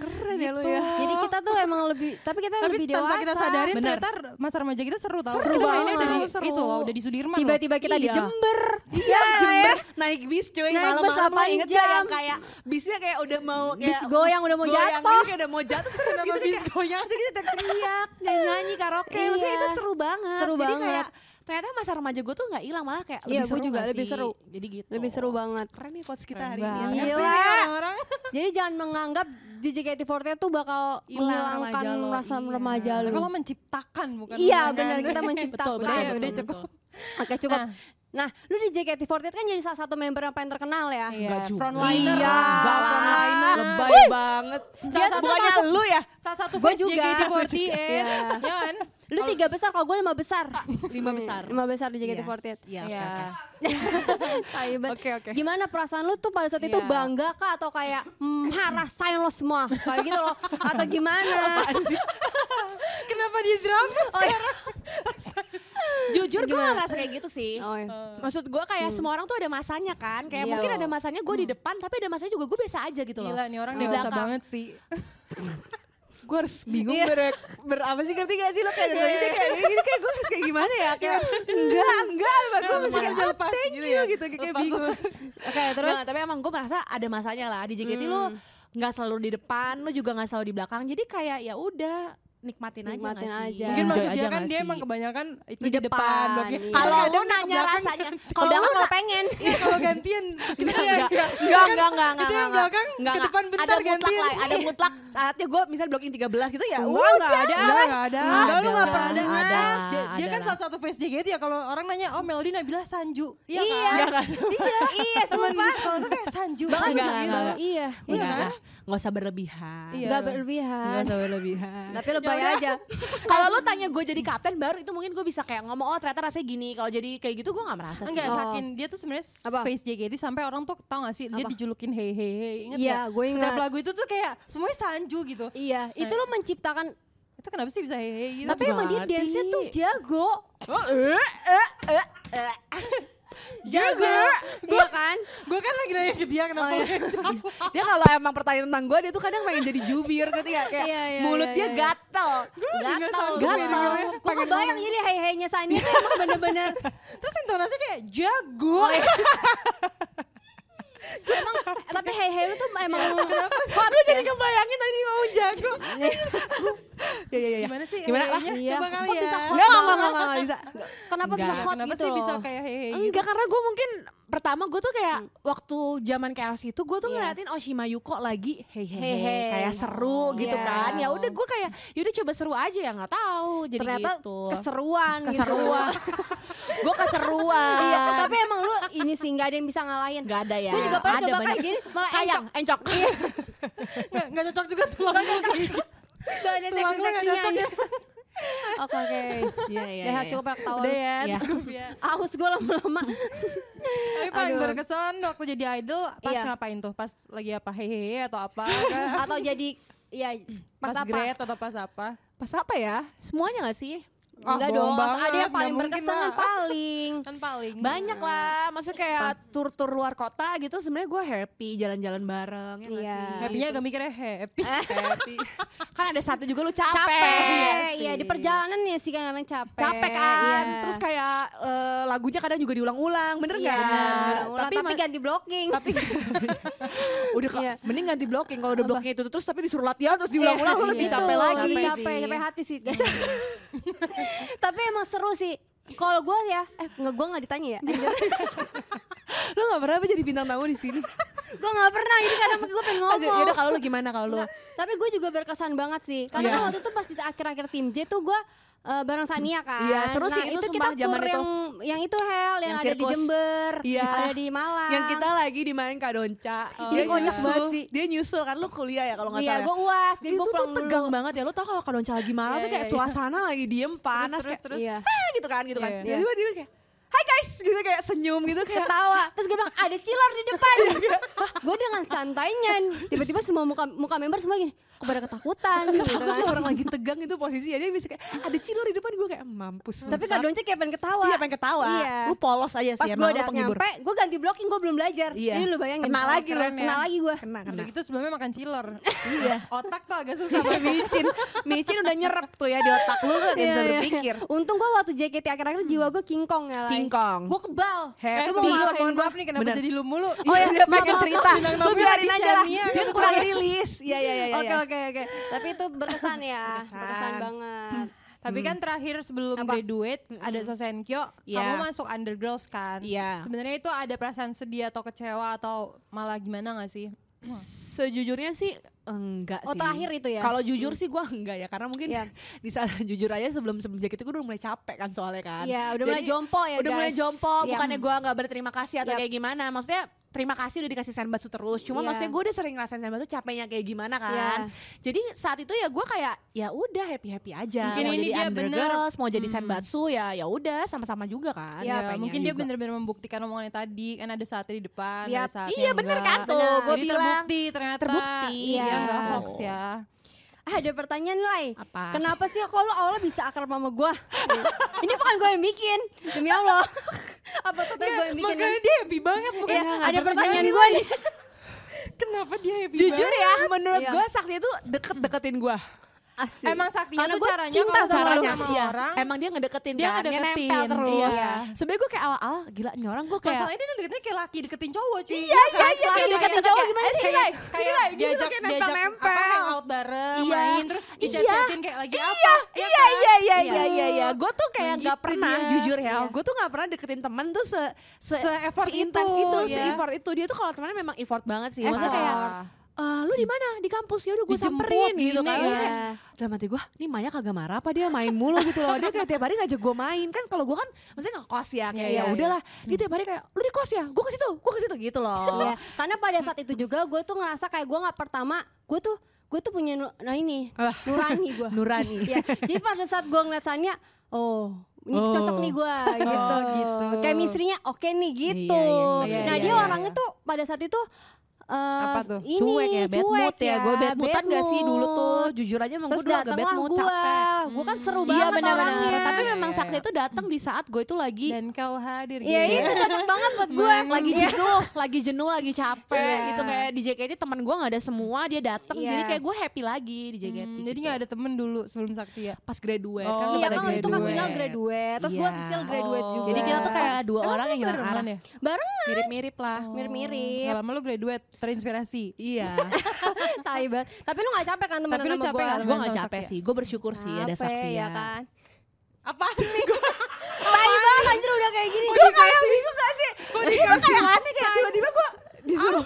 D: Keren ya lo ya
C: Jadi kita tuh emang lebih, tapi kita
B: Tapi
C: lebih dewasa.
B: tanpa kita sadarin
D: Bener.
B: ternyata masa remaja kita seru tau.
C: Seru
B: kita mainnya
C: banget.
B: dari
D: Seru, seru.
B: itu loh, udah di Sudirman.
C: Tiba-tiba kita di
D: Iya.
C: Jember.
D: Iya, naik bis cuy
C: Naik
D: malam-malam
C: bus
D: lo
C: 8
D: inget gak
C: jam.
D: yang kayak bisnya kayak udah mau kayak
C: Bis goyang udah mau
D: goyang
C: jatuh.
D: gitu, kayak udah mau jatuh terus
B: Kenapa
D: gitu
B: bis
D: kayak-
B: goyang?
D: terus kita teriak nyanyi, nyanyi karaoke maksudnya
C: Iya.
D: itu seru banget
C: Seru
D: jadi
C: banget.
D: kayak ternyata masa remaja gue tuh nggak hilang malah kayak
C: Iya,
D: lebih
C: gue
D: seru
C: juga
D: nggak
C: lebih
D: sih?
C: seru.
D: jadi gitu
C: Lebih seru banget.
D: keren nih quotes kita
B: Keren
D: hari ini
C: banget.
D: ya.
C: Gila.
D: Ngerti nih orang-orang.
C: Jadi jangan menganggap di JKT48 tuh bakal
D: Hilang
C: menghilangkan
D: remaja lo,
C: rasa
D: iya.
C: remaja
B: Tapi
C: lu.
B: lo menciptakan bukan
C: Iya
B: menghilangkan.
C: benar kita
D: Betul,
C: menciptakan.
B: Udah ya,
D: Betul,
B: udah
D: betul,
B: cukup.
C: Oke cukup.
B: Nah.
C: Nah. lu di JKT48 kan jadi salah satu member yang paling terkenal
B: Iya,
C: ya.
D: Nggak juga.
B: frontliner.
D: Iya,
B: lah.
D: enggak lah.
B: Frontliner.
D: Lebay banget.
B: Salah satu
D: bukannya
B: masuk-
D: lu ya?
B: Salah satu
C: Gua
B: face
C: juga.
B: JKT48.
C: Iya.
B: Ya kan?
C: Lu tiga besar, kalau gue lima besar.
D: Iya. Lima besar.
C: Lima besar di JKT48.
D: Iya.
B: Iya.
C: Tai banget.
D: Oke, oke.
C: Gimana perasaan lu tuh pada saat itu
B: Iya.
C: bangga kah atau kayak hmm, ha, rasain lo semua kayak gitu loh atau gimana?
B: Kenapa di drama?
C: Oh, iya.
D: Jujur gue ngerasa kayak gitu sih.
C: Oh, iya.
D: Maksud gue kayak semua orang tuh ada masanya kan Kayak
C: Iya.
D: mungkin ada masanya gue di depan Tapi ada masanya juga gue biasa aja gitu loh
B: Gila nih orang
D: Di
B: dewasa
D: belakang.
B: banget sih.
D: Gue harus bingung
C: Iya.
D: ber, ber- apa sih ngerti gak sih lo kayak dari tadi kayak gini Kayak gue harus kayak gimana ya Kayak enggak enggak Gue mesti kayak oh, thank you gitu Kayak bingung
C: Oke, terus
D: Nggak, Nah, tapi emang gue merasa ada masanya lah di JKT lo
C: Hmm.
D: nggak selalu di depan lo juga nggak selalu di belakang jadi kayak ya udah nikmatin, aja,
C: Nikmatin
D: nggak sih?
C: aja.
B: Mungkin
D: Enjoy
B: maksud dia
D: aja
B: kan
D: nggak
B: dia
D: sih?
B: emang kebanyakan itu
C: Di
B: di depan.
C: depan,
B: oke.
C: iya.
B: Tapi
D: kalau
B: ada
D: lu kan
B: yang ke
D: nanya
B: belakang,
D: rasanya
C: kalau Ya,
D: kalau lu
C: kalau pengen
B: iya, kalau gantian kita
D: Enggak, enggak,
B: enggak.
D: enggak, enggak, enggak,
B: Kita
D: enggak,
B: yang
D: enggak.
B: belakang,
D: Enggak,
B: ke
D: enggak.
B: depan bentar
D: ada mutlak
B: gantiin.
D: lah, ada mutlak saatnya gue misalnya blocking 13 gitu ya
B: Enggak,
D: udah.
B: enggak ada.
D: Enggak,
B: Enggak ada.
D: Enggak, lu enggak
B: pernah
D: pernah
B: dengar.
D: ada.
B: Dia, dia kan
D: Ada
B: salah satu face JKT ya kalau orang nanya, "Oh, Melody Nabila Sanju." Iya
C: Iya.
B: kan?
D: Enggak, enggak.
B: Iya. Iya, teman di sekolah tuh kayak Sanju.
C: bahkan
D: enggak,
B: Sanju
D: enggak,
B: gitu.
D: enggak.
C: iya,
D: Enggak,
B: kan?
D: enggak. Enggak usah berlebihan.
B: Iya.
C: nggak berlebihan.
D: Enggak usah berlebihan.
C: Tapi lebay aja.
D: Kalau lu tanya gue jadi kapten baru itu mungkin gue bisa kayak ngomong oh ternyata rasanya gini. Kalau jadi kayak gitu gue nggak merasa sih.
B: Enggak,
C: Oh.
B: Sakin. Dia tuh sebenarnya
C: Apa?
B: face JKT sampai orang tuh tau gak sih dia
C: Apa?
B: dijulukin hey hey hey. Ingat
C: Iya,
B: nggak?
C: gue ingat.
B: Setiap lagu itu tuh kayak semuanya Sanju gitu.
C: Iya, itu lo menciptakan
B: Itu kenapa sih bisa hey hey gitu?
C: tapi emang dia
D: ngerti.
C: dance-nya tuh jago.
D: Oh, eh, eh, eh, eh.
C: Jago, iya kan?
B: Gue kan lagi nanya ke dia kenapa
C: Oh, iya.
B: gue jawab.
D: gitu? dia kalau emang pertanyaan tentang gue dia tuh kadang pengen jadi jubir gitu ya kayak
C: Iya, iya,
D: mulut
C: iya,
D: dia
C: iya.
D: gatel
B: sanggup
C: Gatel,
B: ya
C: gatel.
B: dengernya.
C: Gue kebayang jadi hei-heinya Sani tuh emang bener-bener
B: Terus intonasinya kayak jago.
D: Oh, iya.
C: emang tapi hei-hei lu tuh emang
B: Iya.
D: Kok gue jadi kebayangin tadi mau jago ya ya ya
B: Gimana sih?
D: Gimana?
B: Iya, iya,
C: Iya,
B: Coba
C: kok
B: kali ya.
C: bisa hot?
D: Enggak, enggak, enggak, enggak, bisa.
C: kenapa bisa
D: Enggak,
C: hot
B: Kenapa
C: gitu?
B: sih bisa kayak hehe gitu?
D: Enggak, karena gue mungkin pertama gue tuh kayak waktu zaman chaos itu gue tuh
C: Iya.
D: ngeliatin Oshima Yuko lagi hey hey,
C: Hey,
D: hey,
C: hey.
D: kayak seru
C: Oh.
D: gitu
C: Iya.
D: kan. Ya udah gue kayak yaudah coba seru aja ya nggak tahu jadi
C: Ternyata
D: gitu.
C: keseruan, gitu.
D: keseruan. gue keseruan.
C: Iya, tapi emang lu ini sih nggak ada yang bisa ngalahin.
D: Gak ada ya.
C: Gue juga pernah
D: Ada
C: coba
D: banyak.
C: kayak gini, malah
D: Kayang, encok.
B: Enggak, enggak cocok juga tulang gue kayak gitu.
C: Gak
B: Tulang
C: ada
B: lu nggak
C: seksi-seksinya
B: cocok
C: aja. Oke, oke.
D: Iya, iya.
C: Udah
D: iya.
C: cukup ya ketawa.
D: Udah ya,
C: Iya.
D: cukup
B: ya.
C: Aus gue lama-lama.
B: Tapi paling
C: Aduh.
B: berkesan waktu jadi idol pas
C: Iya.
B: ngapain tuh? Pas lagi apa hehehe atau apa? kan?
C: Atau jadi ya
B: pas
C: pas, apa?
B: grade atau pas apa?
D: Pas apa ya? Semuanya gak sih?
B: Ah,
C: Enggak
B: bohong
C: dong,
B: banget,
C: ada yang paling
B: nggak mungkin
C: berkesan dan
B: lah.
C: paling.
B: Kan paling
D: Banyak lah, maksudnya kayak tur-tur luar kota gitu sebenarnya gue happy jalan-jalan bareng ya nggak
C: Iya.
D: sih?
B: Happy-nya agak mikirnya happy.
C: Eh,
B: happy.
D: kan ada satu juga lu capek.
C: Capek. Iya,
D: sih.
C: di perjalanan ya sih kadang-kadang capek.
D: capek kan.
C: Iya.
D: Terus kayak eh, lagunya kadang juga diulang-ulang, bener
C: Iya,
D: nggak?
C: bener. Ulang,
D: Tapi,
C: Tapi,
D: ma-
C: ganti blocking.
D: tapi udah kak,
C: Iya.
D: mending ganti blocking kalau udah blocking itu terus tapi disuruh latihan terus diulang-ulang lu
C: Iya,
D: lebih
C: gitu.
D: capek lagi.
C: Capek,
B: Capek
C: capek,
B: sih.
C: capek hati sih. guys. Tapi emang seru sih. Kalau gue ya, eh nggak gue nggak ditanya ya.
D: Lu gak pernah apa jadi bintang tamu di sini?
C: gue nggak pernah ini karena gue pengen ngomong.
D: Ya udah kalau lu gimana kalau lu?
C: Nah, tapi gue juga berkesan banget sih. Karena
D: Iya.
C: kan waktu itu pas di akhir-akhir tim J tuh gue eh, bareng Sania kan.
D: Iya, seru sih
C: Nah,
D: itu
C: kita
D: sumpah zaman
C: tour
D: itu.
C: yang yang itu Hel yang,
D: Yang
C: ada di
D: sirkus.
C: Jember,
D: Iya.
C: ada di Malang.
D: Yang kita lagi di main Kak Donca.
C: Ini kocak
D: nyusul-
C: banget sih.
D: Dia nyusul kan lu kuliah ya kalau nggak
C: Iya,
D: salah.
C: gue uas, jadi
D: itu
C: gue
D: tuh
C: pulang
D: tegang
C: dulu.
D: banget ya lu tau kalau Kak Donca lagi marah
B: Iya,
D: tuh kayak
B: iya, iya.
D: suasana lagi diem panas
B: terus,
D: kayak
B: terus.
C: Iya.
D: "Ah," gitu kan gitu kan
B: Iya,
D: Tiba-tiba
B: iya.
D: dia kayak hai guys gitu kayak senyum gitu kayak
C: Ketawa, terus gue bilang ada cilar di depan.
D: Iya.
C: gue dengan santainya, tiba-tiba semua muka muka member semua gini, kok pada ketakutan gitu
D: Takut
C: kan.
D: lu orang lagi tegang itu posisi ya dia bisa kayak ada cilor di depan gue kayak mampus.
C: Tapi Kak Donce kayak pengen ketawa.
D: Iya pengen ketawa.
C: Iya.
D: Lu polos aja sih
C: Pas gue
D: emang lu
C: udah
D: penghibur.
C: nyampe, gue ganti blocking, gue belum belajar.
D: Iya.
C: Jadi lu bayangin.
D: Kena lagi lu.
C: Keren ya. Kena lagi gue.
D: Kena kena.
B: Udah gitu sebelumnya makan cilor. Iya. Otak tuh agak susah Eh, banget.
D: micin, micin udah nyerap tuh ya di otak lu gak bisa
C: Iya, iya.
D: berpikir. Hmm.
C: Untung gue waktu JKT akhir-akhir jiwa gue kingkong ya lah.
D: Kingkong.
C: Gue kebal.
D: Happy.
B: Eh,
C: Eh,
B: gue
C: gua
B: maaf,
C: maafin
B: mohon
C: gua.
B: maaf nih kenapa
D: Bener.
B: jadi lu mulu.
D: Oh
C: Iya,
D: ya, dia pengen
C: maaf,
D: cerita.
B: bintang
D: Lu
B: tamu
D: biarin
B: dari
D: aja lah.
B: Shania.
D: Dia kurang rilis. Iya iya iya.
C: Oke
D: iya.
C: oke oke. Tapi itu berkesan ya.
D: Berkesan. Hmm.
C: Berkesan banget.
B: Tapi kan terakhir sebelum
C: Apa?
B: graduate ada Sosenkyo,
D: Iya.
B: kamu masuk undergirls kan?
D: Iya.
B: Sebenarnya itu ada perasaan sedih atau kecewa atau malah gimana gak sih?
D: Sejujurnya sih enggak
C: Oh,
D: sih.
C: terakhir itu ya?
D: Kalau jujur sih gue enggak ya karena mungkin
C: Iya.
D: di saat jujur aja sebelum sebelum jaket itu gue udah mulai capek kan soalnya kan.
C: Iya, udah mulai
D: Jadi,
C: jompo ya,
D: Eh, Udah mulai
C: guys.
D: jompo,
C: Iya.
D: bukannya gue nggak berterima kasih atau
C: Yap.
D: kayak gimana. Maksudnya terima kasih udah dikasih senbatsu terus. Cuma
C: Iya.
D: maksudnya gue udah sering ngerasain senbatsu capeknya kayak gimana kan.
C: Iya.
D: Jadi saat itu ya gue kayak ya udah happy happy aja.
B: Mungkin
D: mau
B: ini
D: jadi
B: dia Hmm.
D: undergirls, mau jadi senbatsu ya ya udah sama-sama juga kan.
C: Iya,
D: capeknya
B: Ya, mungkin dia
D: juga.
B: bener-bener membuktikan omongannya tadi kan ada saatnya di depan,
C: Iya.
B: ada saatnya
D: Iya bener kan
B: enggak.
D: tuh.
C: Bener.
D: Gue
B: Jadi
D: bilang
B: terbukti ternyata.
D: terbukti.
B: Iya,
C: Iya.
B: enggak hoax ya.
C: Ah, Ada pertanyaan Lai.
D: Apa?
C: Kenapa sih kok lo awalnya bisa akrab sama gue? Ini bukan gue yang bikin. Demi Allah. Apa tuh gue yang bikin?
B: Makanya dia happy banget bukan?
C: Iya,
B: Enggak,
C: ada
B: enggak.
C: pertanyaan
B: Jangan
C: gue nih.
B: Kenapa dia happy
D: Jujur ya, menurut
C: Iya.
D: gue Sakti itu deket-deketin gue.
C: Asik.
B: Emang saktinya Iya,
C: Karena
B: tuh
C: gua
B: caranya
C: cinta
B: kalau sama,
C: sama lu.
B: sama
D: Iya,
B: orang.
D: Emang dia ngedeketin
B: Dia
D: kan,
B: ngedeketin,
D: nempel terus.
B: iya.
D: Sebenernya gue kayak awal-awal, gila nih orang gue kayak...
B: Masalahnya dia deketnya kayak laki deketin cowok cuy.
D: Iya, iya,
B: kan?
D: iya,
B: Laki
D: kayak deketin
B: kayak-
D: cowok
B: kayak-
D: gimana sih,
B: kayak-
D: Lai?
B: kayak
D: Sini, Lai, gitu
B: diajak
D: kayak
B: diajak
D: nempel-nempel.
B: apa hangout bareng,
D: Iya.
B: main terus dicet-cetin kayak lagi
D: iya,
B: apa. ya
D: Iya,
B: kan?
D: iya, iya,
C: Iya.
D: iya, iya, iya. Gue tuh kayak
B: Nah,
D: nggak
B: gitu
D: pernah,
B: dia.
D: jujur ya,
C: Iya.
D: gue tuh nggak pernah deketin temen tuh se se, gitu,
B: Se-effort
D: seintens
B: itu,
D: itu,
B: iya. Ah.
D: se-effort itu. Dia tuh kalau temennya memang effort banget sih.
C: Effort.
D: Maksudnya kayak, "Eh, lu di mana? Di kampus ya udah gue
B: Dijemput
D: samperin gitu
B: gini, iya.
D: kan. Gue kayak, dalam hati gue nih Maya kagak marah apa dia main mulu gitu loh dia kayak tiap hari ngajak gue main kan kalau gue kan maksudnya nggak kos ya kayak
B: Iya, iya,
D: ya udahlah dia tiap hari kayak lu di kos ya gue ke situ gue ke situ gitu loh
C: Iya, karena pada saat itu juga gue tuh ngerasa kayak gue nggak pertama, gue tuh gue tuh punya nu- nah ini
D: Ah.
C: nurani gue.
D: Nurani.
C: Iya, jadi pada saat gue ngeliat Sania, oh ini
D: Oh.
C: cocok nih gue gitu
B: gitu.
C: Chemistry-nya oke nih gitu.
D: Iya, iya, iya,
C: nah
B: iya,
C: dia
B: iya.
C: orangnya tuh pada saat itu eh,
B: Apa tuh?
C: Ini,
D: cuek ya, bad mood ya. Gue bad
C: bad
D: moodan gak sih dulu tuh?
C: mood.
D: Jujur aja emang gue
C: Terus
D: dulu agak bad
C: datanglah
D: mood,
C: gue,
D: capek.
C: gue kan seru
D: Iya
C: banget
D: benar-benar.
C: orangnya.
D: Tapi memang sakti itu datang di saat gue itu lagi
B: Dan kau hadir.
C: Iya
B: gitu.
C: itu cocok banget buat gue.
D: gue lagi jenuh, lagi jenuh, lagi capek gitu kayak di JKT teman gue nggak ada semua dia datang
C: Iya.
D: jadi kayak gue happy lagi di
B: Hmm,
D: JKT.
B: jadi nggak ada temen dulu sebelum Sakti ya?
D: pas graduate
B: Oh,
D: gitu. kan
C: Iya
D: pada
C: kan waktu itu
B: graduate.
C: kan Final graduate, terus gue
D: Iya.
C: Sisil graduate
B: Oh.
C: juga.
D: Jadi kita tuh kayak dua orang yang hilang arah.
B: Barengan ya?
C: bareng
D: Mirip-mirip lah. Oh.
C: mirip-mirip.
B: Gak lama lu graduate, terinspirasi.
D: Iya.
C: Tai banget. Tapi lu gak capek kan temenan
B: Tapi lu
C: sama
B: capek
C: gua?
B: nggak
D: gue nggak
B: Sama
D: capek
B: Sakti
D: sih. Gue bersyukur sih ada
C: Capek,
D: Sakti
C: ya
D: ya.
C: kan.
B: Apa nih gue?
C: Tai banget anjir udah kayak gini. gitu
E: Gue kayak bingung gak sih? Gue
D: Iya,
E: kayak aneh kayak tiba-tiba gue disuruh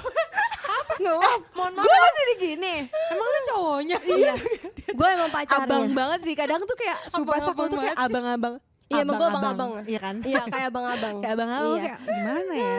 E: apa ngelove.
B: Mohon maaf,
E: Gue masih di gini.
B: emang lu cowoknya?
E: Iya.
C: Gue emang pacarnya.
E: Abang banget sih. Kadang tuh kayak sumpah sakul
B: Abang-abang
E: tuh kayak
B: banget sih.
E: abang-abang.
C: Iya, emang gua abang-abang.
E: Iya kan?
C: Iya kayak abang-abang.
E: Kayak abang-abang
C: Iya.
E: kayak gimana ya?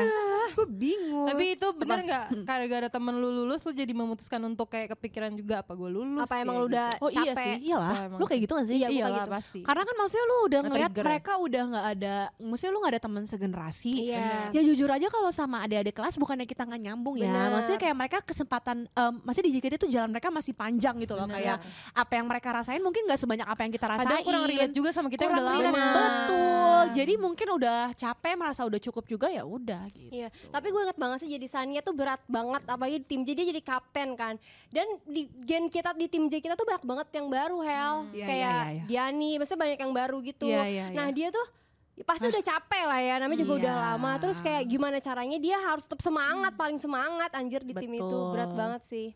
E: Gue bingung.
B: Tapi itu bener nggak gara-gara temen lu lulus lu jadi memutuskan untuk kayak kepikiran juga apa gue lulus?
C: Apa
B: ya,
C: emang lu
B: gitu.
C: udah
D: Oh iya
C: capek?
D: sih, iyalah.
B: Atau emang-
D: Lu kayak gitu gak sih?
C: Iya, gua
B: Iya
C: kayak
B: lah
C: gitu.
B: pasti.
D: Karena kan maksudnya lu udah ngeliat
B: Nge-trigger ya.
D: mereka udah nggak ada, maksudnya lu nggak ada teman segenerasi.
C: Iya.
D: Ya jujur aja kalau sama adik-adik kelas bukannya kita nggak nyambung ya.
C: Benar.
D: Maksudnya kayak mereka kesempatan, em, maksudnya di JKT tuh jalan mereka masih panjang gitu loh. Kayak apa yang mereka rasain mungkin nggak sebanyak apa yang kita rasain. Iya,
B: Padahal kurang relate juga sama
C: Oh,
B: kita yang
D: Kurang
B: udah
D: relate,
B: lama.
D: betul. Jadi mungkin udah capek merasa udah cukup juga ya udah gitu.
C: Iya, tapi gue inget banget sih jadi Sania tuh berat banget apalagi di tim J dia jadi kapten kan. Dan di gen kita di tim J kita tuh banyak banget yang baru Hel.
D: Iya,
C: Kayak
D: iya, iya, iya.
C: Diani, maksudnya banyak yang baru gitu.
D: Iya, iya,
C: nah, dia tuh ya pasti udah capek lah ya, namanya juga
D: Iya. Hmm.
C: udah lama. Terus kayak gimana caranya dia harus tetap semangat, paling semangat anjir di tim itu.
D: Betul.
C: Berat banget sih.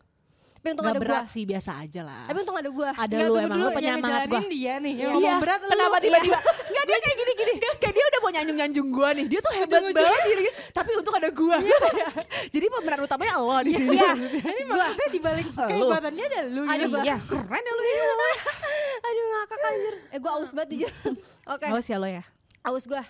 C: Tapi untung
D: Nggak
C: ada
D: berat
C: gua.
D: sih biasa aja lah.
C: Tapi untung ada gua.
B: Nggak,
D: ada lu
B: tunggu
D: emang
B: dulu,
D: lu
B: yang
D: penyemangat gua.
B: ngejalanin dia nih. Yang
D: Iya,
B: ngomong berat lu.
D: kenapa tiba-tiba? Enggak dia kayak gini-gini.
C: Iya.
D: Kayak dia udah mau nyanjung-nyanjung gua nih. Dia tuh hebat banget gini, gini. Tapi untuk ada gua. Jadi pemeran utamanya lo di sini.
C: Iya.
B: Jadi maksudnya dibalik kehebatannya ada lu.
C: Ada
B: gitu.
C: gua.
D: keren ya lu.
C: Aduh ngakak anjir. Eh gua aus banget jujur. Oke,
D: Awas ya lo ya.
C: aus gua.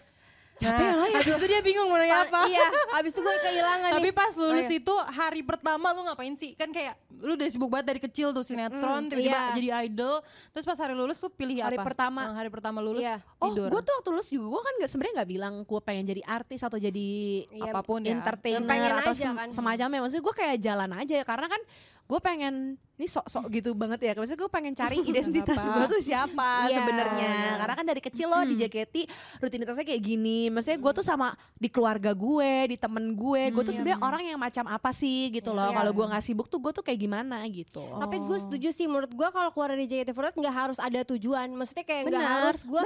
B: Capek lah ya. Habis itu dia bingung mau nanya apa.
C: Iya, abis itu gue kehilangan
B: Tapi
C: nih.
B: pas lulus
C: Oh, iya.
B: itu hari pertama lu ngapain sih? Kan kayak lu udah sibuk banget dari kecil tuh sinetron,
C: Mm,
B: tiba-tiba
C: iya.
B: jadi idol. Terus pas hari lulus lu pilih
D: Hari
B: apa?
D: pertama.
B: Yang hari pertama lulus
C: Iya.
D: Oh,
B: tidur.
D: gue tuh waktu lulus juga gue kan nggak sebenarnya nggak bilang gue pengen jadi artis atau jadi
C: Iya,
B: apapun ya.
D: entertainer
C: Pengen
D: atau
C: aja
D: sem-
C: kan.
D: semacamnya. Maksudnya gue kayak jalan aja ya karena kan gue pengen ini sok-sok gitu banget ya. Maksudnya gue pengen cari identitas
B: Hmm. apa-apa. Hmm.
D: gue tuh siapa
C: Iya,
D: sebenarnya.
C: benar.
D: Karena kan dari kecil loh di JKT rutinitasnya kayak gini. Maksudnya gue tuh sama di keluarga gue, di temen gue,
B: Hmm, iya,
D: gue tuh sebenarnya orang yang macam apa sih gitu loh.
C: Iya.
D: Kalau gue nggak sibuk tuh gue tuh kayak gimana gitu.
C: Tapi gue setuju sih menurut gue kalau keluar dari JKT48 nggak harus ada tujuan. Maksudnya kayak nggak
D: Benar,
C: harus gue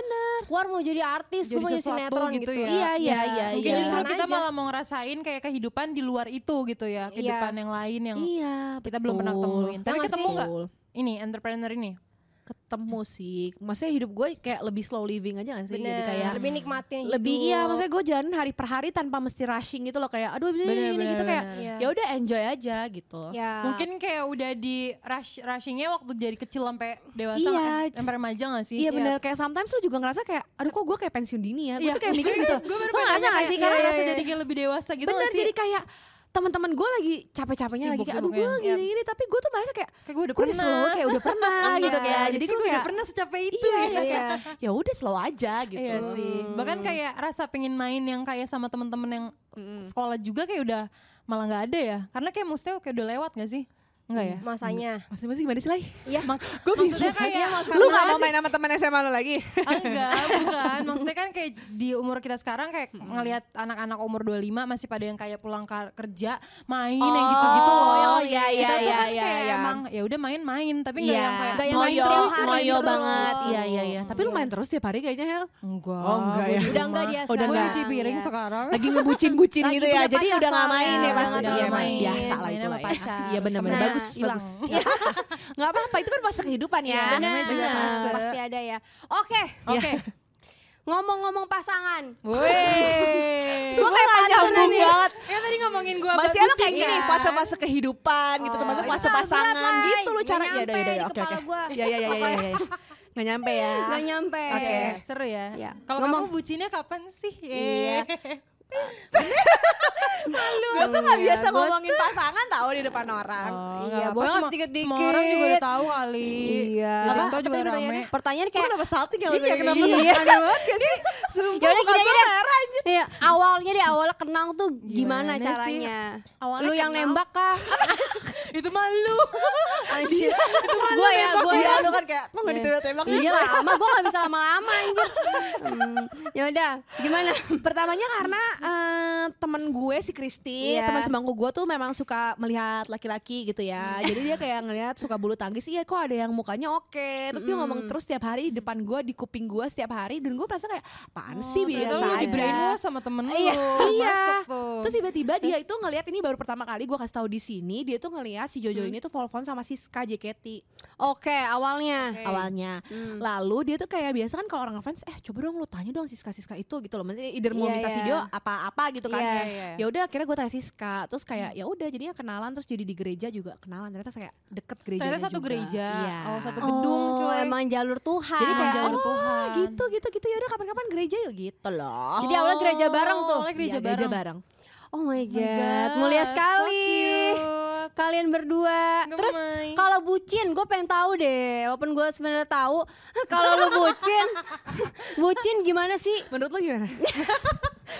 C: keluar mau jadi artis, gue
B: Jadi
C: mau jadi
B: sesuatu
C: sinetron gitu,
B: gitu ya.
D: Iya iya iya.
B: Mungkin
D: iya.
B: justru
C: Jalan
B: kita
C: aja.
B: malah mau ngerasain kayak kehidupan di luar itu gitu ya, kehidupan yang lain yang
D: Iya,
B: kita belum pernah
D: betul.
B: temuin. Tapi
D: Emang
B: ketemu
D: sih.
B: nggak? ini entrepreneur ini.
D: ketemu sih maksudnya hidup gue kayak lebih slow living aja kan sih
C: Bener.
D: jadi kayak
C: lebih nikmatin hidup.
D: lebih iya maksudnya gue jalan hari per hari tanpa mesti rushing gitu loh kayak aduh ini
B: Bener,
D: ini
B: bener,
D: gitu kayak
C: bener.
D: ya udah enjoy aja gitu
C: ya.
B: Mungkin kayak udah di rush rushingnya waktu dari kecil sampai dewasa,
D: Iya,
B: nggak- eh,
D: just-
B: sampai remaja gak sih?
D: Iya bener, kayak sometimes lu juga ngerasa kayak, aduh kok gue kayak pensiun dini ya, gue
B: Iya.
D: tuh kayak mikir gitu,
B: Gue baru
D: lu ngerasa gak sih? Karena
B: karena
D: ngerasa
B: jadi
D: jadi
B: kayak iya, lebih dewasa gitu
D: bener,
B: nggak sih?
D: jadi kayak teman-teman gue lagi capek-capeknya lagi kayak, aduh gue
B: Sibuk-sibuknya.
D: gini-gini, tapi gue tuh merasa kayak,
B: kayak gue udah
D: gue udah
B: pernah.
D: slow, kayak udah pernah gitu
C: Iya.
D: kayak,
B: jadi
D: jadi gue
B: gue udah
D: kayak,
B: pernah secapek itu
D: iya,
B: ya.
D: iya, kayak, ya udah slow aja gitu.
B: Iya sih. Bahkan kayak rasa pengen main yang kayak sama temen-temen yang
D: Hmm.
B: sekolah juga kayak udah malah nggak ada ya. Karena kayak maksudnya kayak udah lewat gak sih? Enggak
D: Hmm.
B: ya?
C: masanya.
D: Masih-masih gimana sih lah?
C: Iya.
B: Gue maksudnya kayak
E: Lu gak mau main sama teman SMA lu lagi?
B: enggak, Ah, bukan. Maksudnya kan kayak di umur kita sekarang kayak
D: Hmm.
B: ngelihat anak-anak umur 25 masih pada yang kayak pulang ka- kerja main yang gitu-gitu loh. Yang
D: Oh, iya,
B: kita
D: iya,
B: tuh kan
D: iya,
B: kayak
D: iya.
B: emang ya udah main-main tapi enggak
D: Iya,
B: yang kayak
C: Gak yang main
D: moyo,
C: tiap hari
D: moyo
C: terus.
D: banget. Iya, iya, iya. Tapi lu main terus tiap hari kayaknya, Hel.
B: enggak.
E: Oh, enggak ya.
C: Udah enggak dia
D: udah
B: Gue
C: sekarang.
B: nyuci piring
C: Iya.
B: sekarang.
D: Lagi ngebucin-bucin
C: Lagi
D: gitu
C: punya
D: ya. Jadi
C: pacar
D: udah nggak
C: soalnya.
D: main ya
C: Udah
D: pasti.
B: nggak
D: Iya,
B: main.
D: main. Biasa lah
B: Mainnya
D: itu
B: sama
D: lah ya.
B: pacar.
D: Iya, benar-benar
C: Nah,
D: bagus,
B: hilang.
D: bagus. Enggak apa-apa, itu kan fase kehidupan ya.
C: Iya, namanya juga
D: Benar.
C: fase. Pasti ada ya. Oke,
B: Oke.
C: ngomong-ngomong pasangan.
B: Weh.
D: Gue kayak nyambung banget.
B: Ya tadi ngomongin gue
D: Masih lu kayak gini, fase-fase kehidupan gitu, termasuk fase pasangan gitu lu cara ya udah ya udah ya, oke oke. Ya ya ya ya ya. ya. Nggak nyampe ya.
C: Gak nyampe.
B: Oke, seru ya.
C: Iya.
B: Kalau
C: Ngomong.
B: kamu bucinnya kapan sih?
C: Iya.
D: Gue tuh gak
C: Iya,
D: biasa
C: gua
D: ngomongin pasangan tau di depan orang.
B: Oh,
D: iya,
B: nggak
D: bos
B: apa-apa,
D: harus
B: semua-
D: dikit-dikit.
B: Semua orang juga udah tahu kali.
C: Iya.
B: Yang
D: Apa?
B: tahu
D: Apa
B: juga rame.
D: tadi pertanyaannya?
C: Pertanyaan
D: Kayak,
C: kayak
D: kenapa salting ya?
C: Iya, kenapa
D: Iya,
C: salting?
D: aneh banget gak sih? Sumpah
C: Yaudah,
D: muka
C: gini
D: gue
C: aja deh.
D: merah aja.
C: Iya, awalnya deh awalnya kenal tuh
B: Gimana
C: gimana,
B: sih?
C: caranya?
D: Awalnya
C: lu yang
D: kenal.
C: nembak kah?
B: Itu malu.
D: Anjir. Itu
C: Gue ya, gue
D: Iya,
C: ya.
D: lu kan kayak, kok gak ditembak-tembak sih?
C: Iya lama, gue gak bisa lama-lama anjir. Hmm, ya udah, gimana?
D: Pertamanya karena eh, temen gue si Kristi,
C: Iya.
D: teman sebangku gue tuh memang suka melihat laki-laki gitu ya.
B: Iya.
D: Jadi dia kayak ngelihat suka bulu tangkis, iya kok ada yang mukanya oke. Terus dia
B: Mm.
D: ngomong terus setiap hari di depan gue, di kuping gue setiap hari. Dan gue merasa kayak, apaan sih biasa
B: Oh, Ternyata lu di
D: aja.
B: brainwash sama temen lu.
D: Iya, iya.
B: Masuk tuh.
D: Terus tiba-tiba dia itu ngelihat ini baru pertama kali gue kasih tahu di sini dia tuh ngelihat si
B: Hmm.
D: Jojo ini tuh telepon sama si Ska JKT
C: Oke, Hmm. awalnya.
D: awalnya. Lalu dia tuh kayak biasa kan kalau orang ngefans eh coba dong lu tanya dong si Ska Siska itu gitu loh. Maksudnya either mau
C: Iya,
D: minta
C: iya.
D: video apa-apa gitu kan.
C: Iya,
B: iya.
D: Ya udah akhirnya gue tanya Siska terus kayak ya udah jadinya kenalan terus jadi di gereja juga kenalan ternyata kayak deket gereja.
B: Ternyata satu gereja.
D: Iya.
B: Oh, satu
C: Oh,
B: gedung cuy.
C: emang jalur Tuhan.
D: Jadi kayak
B: Jalan
D: oh
B: Tuhan.
D: gitu gitu gitu ya udah kapan-kapan gereja yuk gitu loh.
C: Jadi awalnya gereja bareng tuh.
B: Awalnya gereja
D: Iya,
B: bareng.
D: bareng.
B: Oh
C: Oh my
B: my
C: god,
B: God,
C: mulia
B: so
C: sekali.
B: cute.
C: Kalian berdua. Terus
B: Gemoy.
C: kalau bucin, gue pengen tahu deh. Walaupun gue sebenarnya tahu, kalau lu bucin, bucin gimana sih?
D: Menurut lu gimana?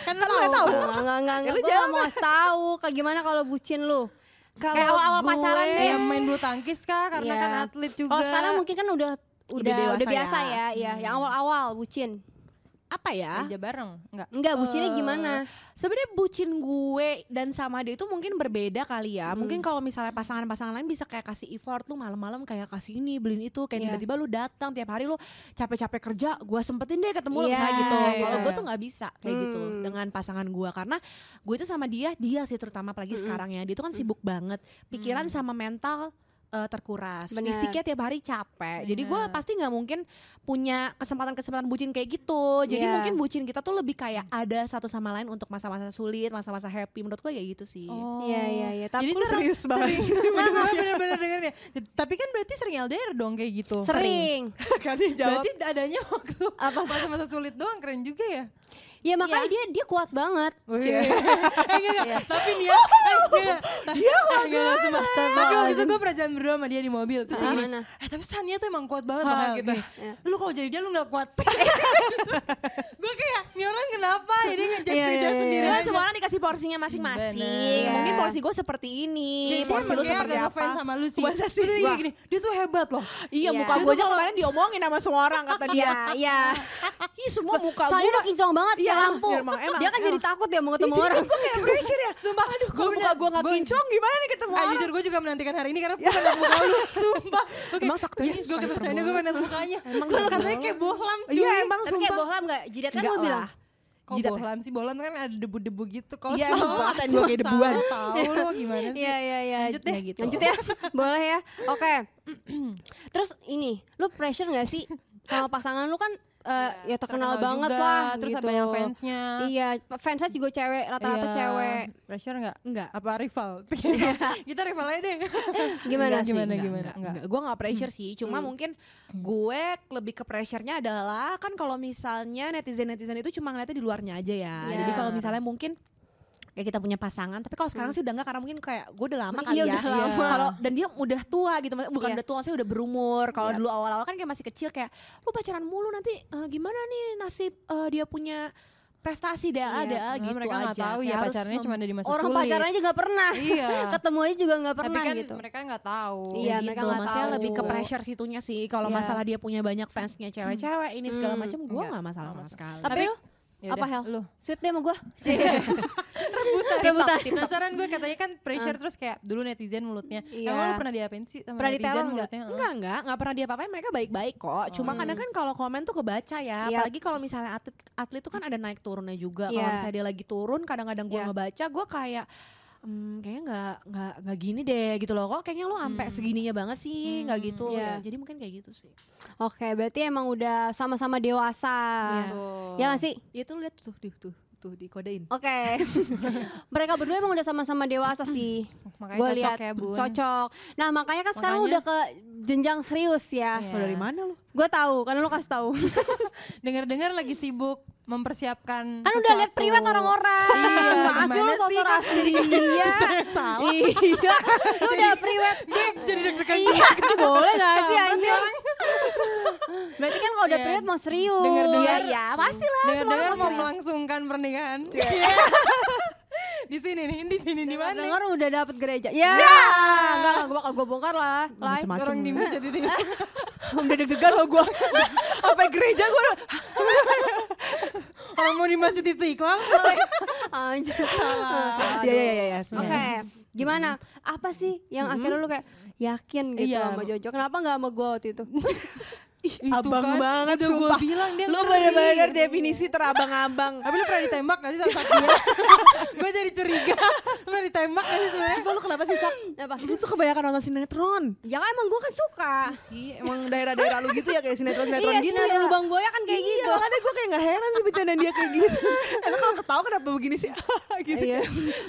B: kan
D: Kan lu nggak tahu.
C: Enggak, enggak, enggak.
D: Ya, lu
C: Gue
D: jangan.
C: mau ngasih tahu. Kayak gimana kalau bucin lu?
D: Kalau Iya,
C: Kayak awal-awal pacaran deh.
B: Yang main bulu tangkis kah? Karena
C: Iya.
B: kan atlet juga.
C: Kalau sekarang mungkin kan udah udah
D: dewasa
C: udah biasa
D: ya.
C: ya, ya. Yang awal-awal bucin.
D: apa ya?
B: Gereja bareng. Enggak.
C: Enggak, bucinnya
D: Eh.
C: gimana?
D: Sebenarnya bucin gue dan sama dia itu mungkin berbeda kali ya.
C: Hmm.
D: Mungkin kalau misalnya pasangan-pasangan lain bisa kayak kasih effort lu malam-malam kayak kasih ini beliin itu kayak
C: Iya.
D: tiba-tiba lu datang tiap hari lu capek-capek kerja, gue sempetin deh ketemu lu
C: Iya,
D: misalnya gitu.
B: iya.
D: Kalau gue tuh nggak bisa kayak gitu
C: Hmm.
D: dengan pasangan gue karena gue itu sama dia dia sih terutama apalagi
C: Hmm.
D: sekarang ya dia tuh kan sibuk banget pikiran sama mental eh, terkuras
C: Bener.
D: fisiknya tiap hari capek jadi gue
B: Bener.
D: pasti nggak mungkin punya kesempatan-kesempatan bucin kayak gitu
C: Iya.
D: jadi mungkin bucin kita tuh lebih kayak ada satu sama lain untuk masa-masa sulit masa-masa happy menurut gue kayak gitu sih
B: Oh.
C: Iya, iya, iya.
B: Jadi
C: Tapi lu
B: sering-
D: serius banget.
B: sering- Nah, bener-bener dengerin ya. Tapi kan berarti sering LDR dong kayak gitu.
C: Sering.
D: kan dia
B: Berarti adanya waktu masa-masa sulit doang keren juga ya.
C: Ya makanya
D: Iya.
C: dia dia kuat banget.
B: Wih. Eh, enggak, enggak. Tapi dia Oh, dia kuat banget. Tapi waktu itu gue perajan berdua sama dia di mobil terus dia gini,
C: Gimana?
B: Eh tapi Sania tuh emang kuat banget loh gitu.
C: Iya.
B: Lu kalau jadi dia lu gak kuat. gue kayak ini orang kenapa? Jadi ngejudge
C: Iya,
B: dia
C: iya, iya.
B: sendiri.
D: Kan
B: aja. Iya.
D: semua orang dikasih porsinya masing-masing.
C: Bener.
D: Mungkin porsi gue seperti ini,
B: Jadi dia
D: porsi
B: emang
D: lu
B: kayak
D: seperti
B: agak
D: apa.
B: ngefans sama lu sih.
D: Masa sih?
B: Terus dia kayak gini, dia tuh hebat loh.
C: Iya.
D: Iya, muka
C: Dia
D: gue aja kemarin diomongin sama semua orang kata dia.
C: Iya, iya.
D: Ih, semua muka
C: Soalnya
D: gue
C: dia kinclong banget
D: Iya,
C: ya lampu.
D: emang, emang,
C: dia kan jadi
D: emang.
C: takut ya mau ketemu
D: Iya,
C: orang.
D: Gue kayak pressure ya. Sumpah, aduh, gue muka gue gak
B: gua-
D: kinclong gimana nih ketemu
B: Ah,
D: orang.
B: jujur gue juga menantikan hari ini karena gue pengen muka lu, sumpah. Gue kayak,
D: Emang saktinya
B: yes, gue
D: suka
B: ketemu
D: hyperbola.
B: China, gue pengen mukanya. Emang katanya kayak bohlam, cuy.
D: Iya, emang
C: Tapi kayak
D: sumpah.
C: bohlam gak? Jidat kan
D: Enggak
C: gue bilang.
D: lah.
B: Kok
D: Jidat ya?
B: bohlam sih, bohlam kan ada debu-debu gitu. Kalau
D: Iya,
B: sama
D: emang
B: lo,
D: katain gue kayak debuan.
B: sama Tahu lo gimana sih?
C: Iya, iya, iya.
B: Lanjut deh.
D: Ya gitu.
C: Lanjut ya. Boleh ya. Oke. Terus ini, lu pressure gak sih sama pasangan lu kan eh, ya terkenal, banget
B: Iya, juga,
C: lah
B: terus
C: gitu.
B: ada banyak fansnya.
C: Iya, fansnya juga cewek, rata-rata
B: Iya.
C: cewek.
B: Pressure enggak?
D: Enggak.
B: Apa rival? Kita rival aja deh. Enggak,
C: Gimana sih?
B: gimana,
D: Enggak,
B: gimana?
D: enggak, enggak. Gue gak pressure sih, cuma mungkin gue lebih ke pressure-nya adalah kan kalau misalnya netizen-netizen itu cuma ngeliatnya di luarnya aja ya.
C: Iya.
D: Jadi kalau misalnya mungkin kayak kita punya pasangan, tapi kalau sekarang sih udah enggak karena mungkin kayak gue udah lama kali
C: Iya,
D: ya.
C: udah lama.
D: Kalau dan dia udah tua gitu, maksudnya bukan
C: Iya.
D: udah tua, saya udah berumur. Kalau dulu awal-awal kan kayak masih kecil kayak lu pacaran mulu nanti eh, gimana nih nasib eh, dia punya prestasi dah
B: Iya,
D: ada
B: karena
D: gitu
B: mereka
D: aja.
B: nggak tahu ya
D: Kayak harus
B: pacarnya
D: mem-
B: cuma ada di masa
C: Orang
B: sulit.
C: pacaran aja gak pernah.
B: Iya.
C: Ketemu aja juga gak
B: Tapi
C: pernah
B: kan
C: gitu.
B: mereka nggak tahu.
C: Iya,
D: gitu.
C: mereka nggak
D: masalah
C: tahu.
D: lebih ke pressure situnya sih. Kalau
C: Iya. Hmm.
D: masalah dia punya banyak fansnya cewek-cewek ini segala macam, gue
B: Enggak,
D: nggak masalah
B: nggak
D: sama sekali.
C: Tapi,
B: Tapi- Iya.
C: lu
B: Yaudah,
C: apa hel?
B: Lu.
C: Sweet deh sama gue. Rebutan. Rebutan.
B: Penasaran gue katanya kan pressure terus kayak dulu netizen mulutnya.
C: Ah. Iya.
B: Emang lu pernah diapain sih sama
C: Pernah
B: netizen
C: diteror nggak?
B: mulutnya? Heeh.
D: Enggak, enggak, enggak pernah dia apa-apain, mereka baik-baik kok. Cuma kadang kan kalau komen tuh kebaca ya,
C: Hmm. Iya.
D: apalagi kalau misalnya atlet atlet tuh kan ada naik turunnya juga. Kalau
C: Iya.
D: misalnya dia lagi turun, kadang-kadang gue
C: Iya.
D: ngebaca, gue kayak "Hmm, kayaknya nggak nggak nggak gini deh gitu loh kok kayaknya lu ampe segininya banget sih nggak gitu
C: Hmm. Iya.
D: ya jadi mungkin kayak gitu sih
C: Oke, berarti emang udah sama-sama dewasa.
B: Tuh.
C: Ya gak sih?
D: Iya. ya tuh lihat tuh tuh tuh tuh dikodein
C: Oke. Mereka berdua emang udah sama-sama dewasa sih.
B: Makanya
C: Gua
B: cocok
C: lihat,
B: ya, Bun.
C: Cocok. Nah, makanya kan sekarang
B: Makanya-
C: udah ke jenjang serius ya.
B: Iya.
D: Lo dari mana lu
C: Gue tahu karena lo kasih tahu.
B: Dengar-dengar lagi sibuk mempersiapkan
C: Kan udah lihat
B: sesuatu.
C: priwet orang-orang.
B: Iya,
C: Masa lu
B: gimana sih
C: sosok
B: kan?
C: asli. Iya. Iya. Lu udah priwet. Jadi deg-degan. Iya, boleh gak sih anjir? Berarti kan kalau udah
B: Iya.
C: priwet mau serius.
B: Dengar-dengar.
C: Iya, pasti lah.
B: dengar dengar
C: orang
B: mau
C: serius. Iya.
B: melangsungkan pernikahan Iya. di sini nih di sini di mana Iya.
C: Dengar udah dapet gereja. Ya, enggak enggak gue bakal gue bongkar lah. Lai.
D: Macem-macem.
B: orang di
D: Macem.
B: bis jadi tinggal
D: Udah deg-degan loh gue Sampai gereja gue
B: orang mau di masjid istiqlal
C: Anjir, salah. salah.
D: Iya iya iya iya
C: Oke, gimana? Apa sih yang akhirnya lu kayak yakin gitu
B: Iya.
C: sama Jojo? Kenapa nggak sama gue waktu itu?
B: Itu
D: Abang
B: kan,
D: banget
B: udah gue
D: sumpah
B: bilang dia
D: Lu
B: ngeri.
D: bener-bener definisi terabang-abang
B: tapi lu pernah ditembak gak sih sama saat dia gue jadi curiga lu pernah ditembak gak sih sebenarnya
D: Sumpah lu kenapa sih Sak?
C: Apa?
D: Lu tuh kebanyakan nonton sinetron
C: Ya kan emang gue kan suka.
D: Iya, emang daerah-daerah lu gitu ya kayak sinetron-sinetron
C: iya,
D: gitu
C: sinetron
D: ya.
C: lubang buaya kan kayak
D: iya,
C: gitu.
D: makanya gue kayak gak heran sih bercandaan dia kayak gitu. Emang kalau ketawa kenapa begini sih? gitu.
C: Iya.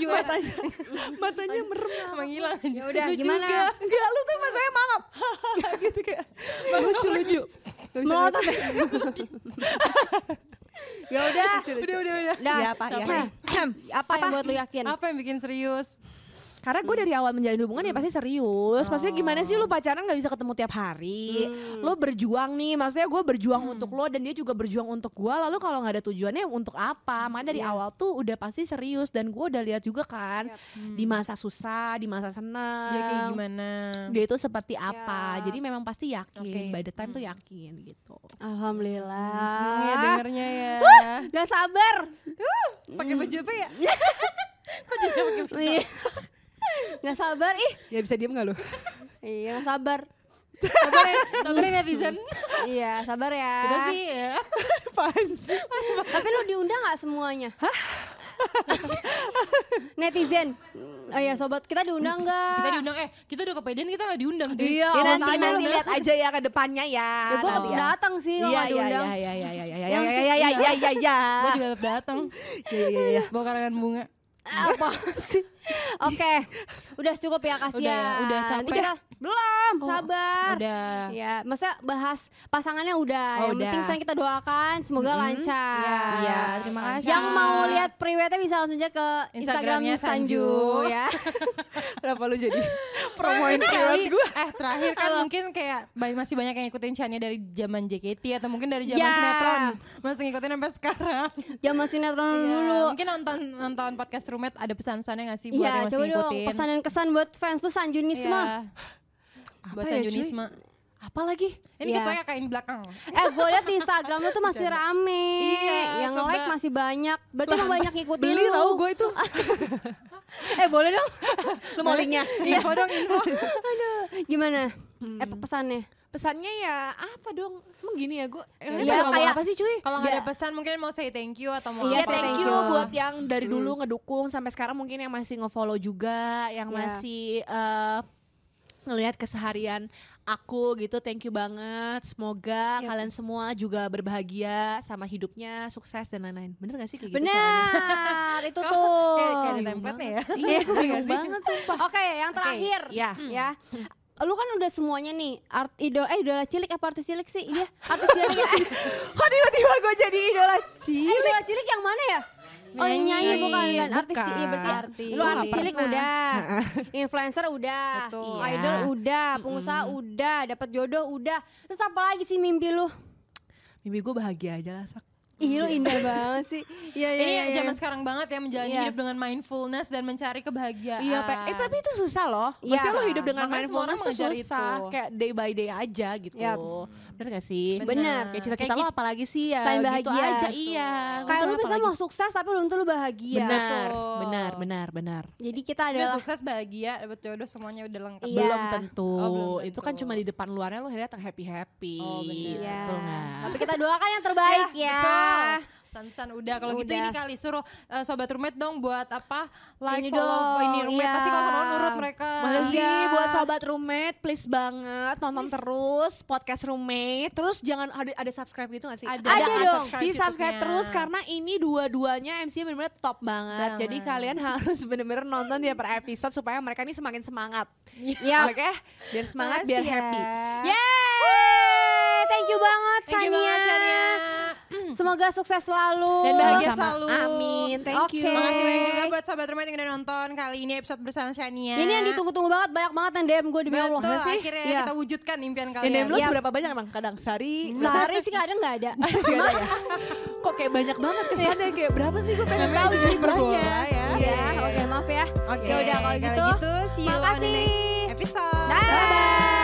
D: Matanya, matanya merem.
B: emang hilang aja
C: Ya udah,
B: Lu
C: gimana?
B: juga.
D: Enggak, lu tuh masanya mangap. gitu kayak lucu-lucu. Melotot.
C: Ya udah.
B: udah udah udah
C: Udah.
D: Ya, apa, ya.
C: Apa, apa yang buat lu yakin?
B: apa yang bikin serius
D: Karena gue dari awal menjalin hubungan ya pasti serius. Maksudnya gimana sih lu pacaran gak bisa ketemu tiap hari? Lu berjuang nih, maksudnya gue berjuang untuk lo dan dia juga berjuang untuk gue. Lalu kalau nggak ada tujuannya untuk apa? Makanya dari awal tuh udah pasti serius dan gue udah lihat juga kan di masa susah, di masa
B: dia
D: senang.
B: Ya, kayak gimana
D: Dia itu seperti apa?
C: Ya.
D: Jadi memang pasti yakin.
B: Oke.
D: By the time tuh yakin gitu.
C: Alhamdulillah.
B: Seneng ya dengernya ya
C: Gak sabar.
B: pakai baju apa ya
C: Iya. Gak sabar ih.
D: Ya bisa diem gak lu?
C: Iya, gak sabar.
D: ya,
B: sabarin sabarin netizen
C: Iya, sabar ya.
B: udah sih ya
D: Apaan sih?
C: Tapi lu diundang gak semuanya? Netizen. Oh iya sobat, kita diundang gak?
B: kita diundang eh kita udah kepedean kita nggak diundang cuy.
C: Iya,
D: Ya,
C: awas
D: nanti
C: aja
D: nanti
C: lu.
D: lihat aja ya ke depannya ya.
C: Ya gue tetap
D: Nanti ya.
C: datang sih kalau
D: Iya
C: nggak
D: iya
C: diundang.
D: iya iya iya iya iya
B: Yang
D: iya
B: sih,
D: iya
B: iya.
D: iya iya iya iya.
B: gue juga tetap datang
D: Iya iya iya.
B: bawa karangan bunga
C: Apa sih? Oke, udah cukup ya kasihan.
B: Udah ya, udah capek.
C: belum,
D: Oh,
C: sabar.
B: udah
C: Ya, maksudnya bahas pasangannya udah. yang
D: Oh, udah.
C: penting sekarang kita doakan semoga lancar.
D: Iya,
B: Ya,
D: terima
B: Ah,
D: kasih.
C: Yang mau lihat priwetnya bisa langsung aja ke
B: Instagramnya
C: Instagramnya Sanju,
B: Sanju.
C: ya.
D: Kenapa lu jadi promoin kelas
B: Kali-
D: gue?
B: Eh terakhir kan mungkin kayak ba- masih banyak yang ngikutin Shania dari zaman JKT atau mungkin dari zaman
C: Ya.
B: sinetron masih ngikutin sampai sekarang.
C: Jangan sinetron
B: Iya,
C: dulu.
B: Mungkin nonton nonton podcast Rumet ada pesan-pesannya nggak sih buat yang
C: Iya,
B: masih
C: coba dong
B: ngikutin?
C: pesan dan kesan buat fans tuh Sanjunisme.
B: Iya. Buat
D: Apa ya,
B: Sanjunisme.
D: Apa lagi?
B: Ini
C: Iya.
B: kebanyakan kain belakang.
C: Eh gue liat di Instagram lu tuh masih rame
B: Iya,
C: Yang
B: coba.
C: like masih banyak Berarti lu banyak ngikutin
D: Beli
C: lu.
D: tahu gue itu.
C: Eh boleh dong
D: Lu mau linknya?
B: Info Iya, dong info. Hmm.
C: Gimana? Eh pesannya
D: Pesannya ya apa dong? Emang gini ya gue.
C: Iya, kayak-
D: apa sih cuy?
B: Kalau nggak ada
C: Iya.
B: pesan mungkin mau say thank you atau mau
C: Iya,
D: Iya
B: apa. gitu.
D: thank
C: thank
D: you Hmm.
C: you.
D: buat yang dari dulu ngedukung sampai sekarang mungkin yang masih ngefollow juga, yang
C: Iya.
D: masih eh, ngelihat keseharian aku gitu. Thank you banget. Semoga kalian semua juga berbahagia sama hidupnya, sukses dan lain-lain. Bener gak sih kayak gitu?
C: Benar itu
B: Kayak-
C: tuh
B: Kayak, kayak ada template-nya ya.
D: caranya? Iya, bingung banget sumpah.
C: Oke yang terakhir
D: Iya.
C: Ya Lu kan udah semuanya nih art idol eh idola cilik apa artis cilik sih? Iya, artis cilik. ya.
D: Kok tiba-tiba gue jadi idola
C: Eh, idola cilik yang mana ya? Oh yang nyanyi
D: Nyanyi,
C: bukan, kan artis sih, iya, berarti
B: Artis.
C: lu artis
B: Nggak
C: cilik
B: pernah.
C: udah, influencer udah,
B: Betul.
C: Iya. idol udah, pengusaha udah, dapat jodoh udah, terus apa lagi sih mimpi lu?
D: Mimpi gue bahagia aja lah sak.
C: Ih lu indah banget sih, iya iya
B: Ini
C: iya, iya.
B: zaman sekarang banget ya menjalani
C: Iya.
B: hidup dengan mindfulness dan mencari kebahagiaan.
D: Iya, Pe. eh tapi itu susah loh.
C: Iya.
D: Maksudnya lo hidup dengan
B: Makanya semua orang
D: mindfulness tuh
B: mengejar
D: susah.
B: itu.
D: Kayak day by day aja gitu.
C: Yap.
D: Bener gak sih?
C: Bener.
D: Kayak cita-cita lo apalagi sih ya?
C: Selain
D: Gitu
C: bahagia,
D: aja,
C: betul.
D: iya.
C: Kayak lu
D: Untung
C: bisa
D: apalagi-
C: mau sukses tapi belum tentu lu bahagia.
D: Benar,
B: Iya, Betul.
D: benar, benar, benar.
C: Jadi kita
B: udah
C: adalah
B: sukses bahagia dapat jodoh semuanya udah lengkap.
C: Iya.
D: Belum tentu.
B: Oh, belum
D: Itu kan
B: tentu.
D: cuma di depan luarnya lo akhirnya happy happy.
B: Oh, benar.
C: Iya.
D: Betul nggak?
C: Tapi kita doakan yang terbaik ya.
B: San-san udah kalau gitu
C: Udah.
B: ini kali suruh eh, sobat roommate dong buat apa like
C: Ini
B: follow oh,
C: dong,
B: ini roommate
C: iya.
B: pasti kalau follow nurut mereka.
D: Makasih
C: Iya.
D: buat sobat roommate, please banget nonton terus podcast roommate. Terus jangan ada, ada subscribe gitu gak sih?
B: Ada.
C: Ada
D: kan?
C: dong.
D: Di subscribe
B: YouTube-nya.
D: terus karena ini dua-duanya MC bener-bener top banget.
B: Banget.
D: Jadi kalian harus bener-bener nonton dia per episode supaya mereka ini semakin semangat.
C: Yap.
D: ya. Oke, biar semangat, biar
B: Makasih ya.
D: happy.
C: Yeay! thank you banget
B: Thank you
C: Sania. Mm.
B: banget, Shania.
C: Semoga sukses selalu.
B: Dan bahagia
C: Sama.
B: selalu.
F: Amin, thank
C: Oke.
F: you.
B: Makasih banyak juga buat sobat rumah yang udah nonton kali ini episode bersama Shania.
C: Ini yang ditunggu-tunggu banget, banyak banget yang DM gue demi Allah.
B: Betul,
C: Nggak sih?
B: akhirnya
C: Iya.
B: kita wujudkan impian kalian.
D: Yang DM lu
C: Iya.
D: seberapa banyak emang kadang ya. sehari?
C: Sehari sih kadang nggak ada.
D: Masih ada ya? Kok kayak banyak banget kesannya kayak berapa sih gue pengen tahu jadi
B: Bola
D: banyak.
B: ya.
C: Iya, oke maaf ya.
B: Oke,
C: Ya udah, kalau gitu,
B: see you on the
C: makasih.
B: next episode.
C: Dah.
B: Bye-bye.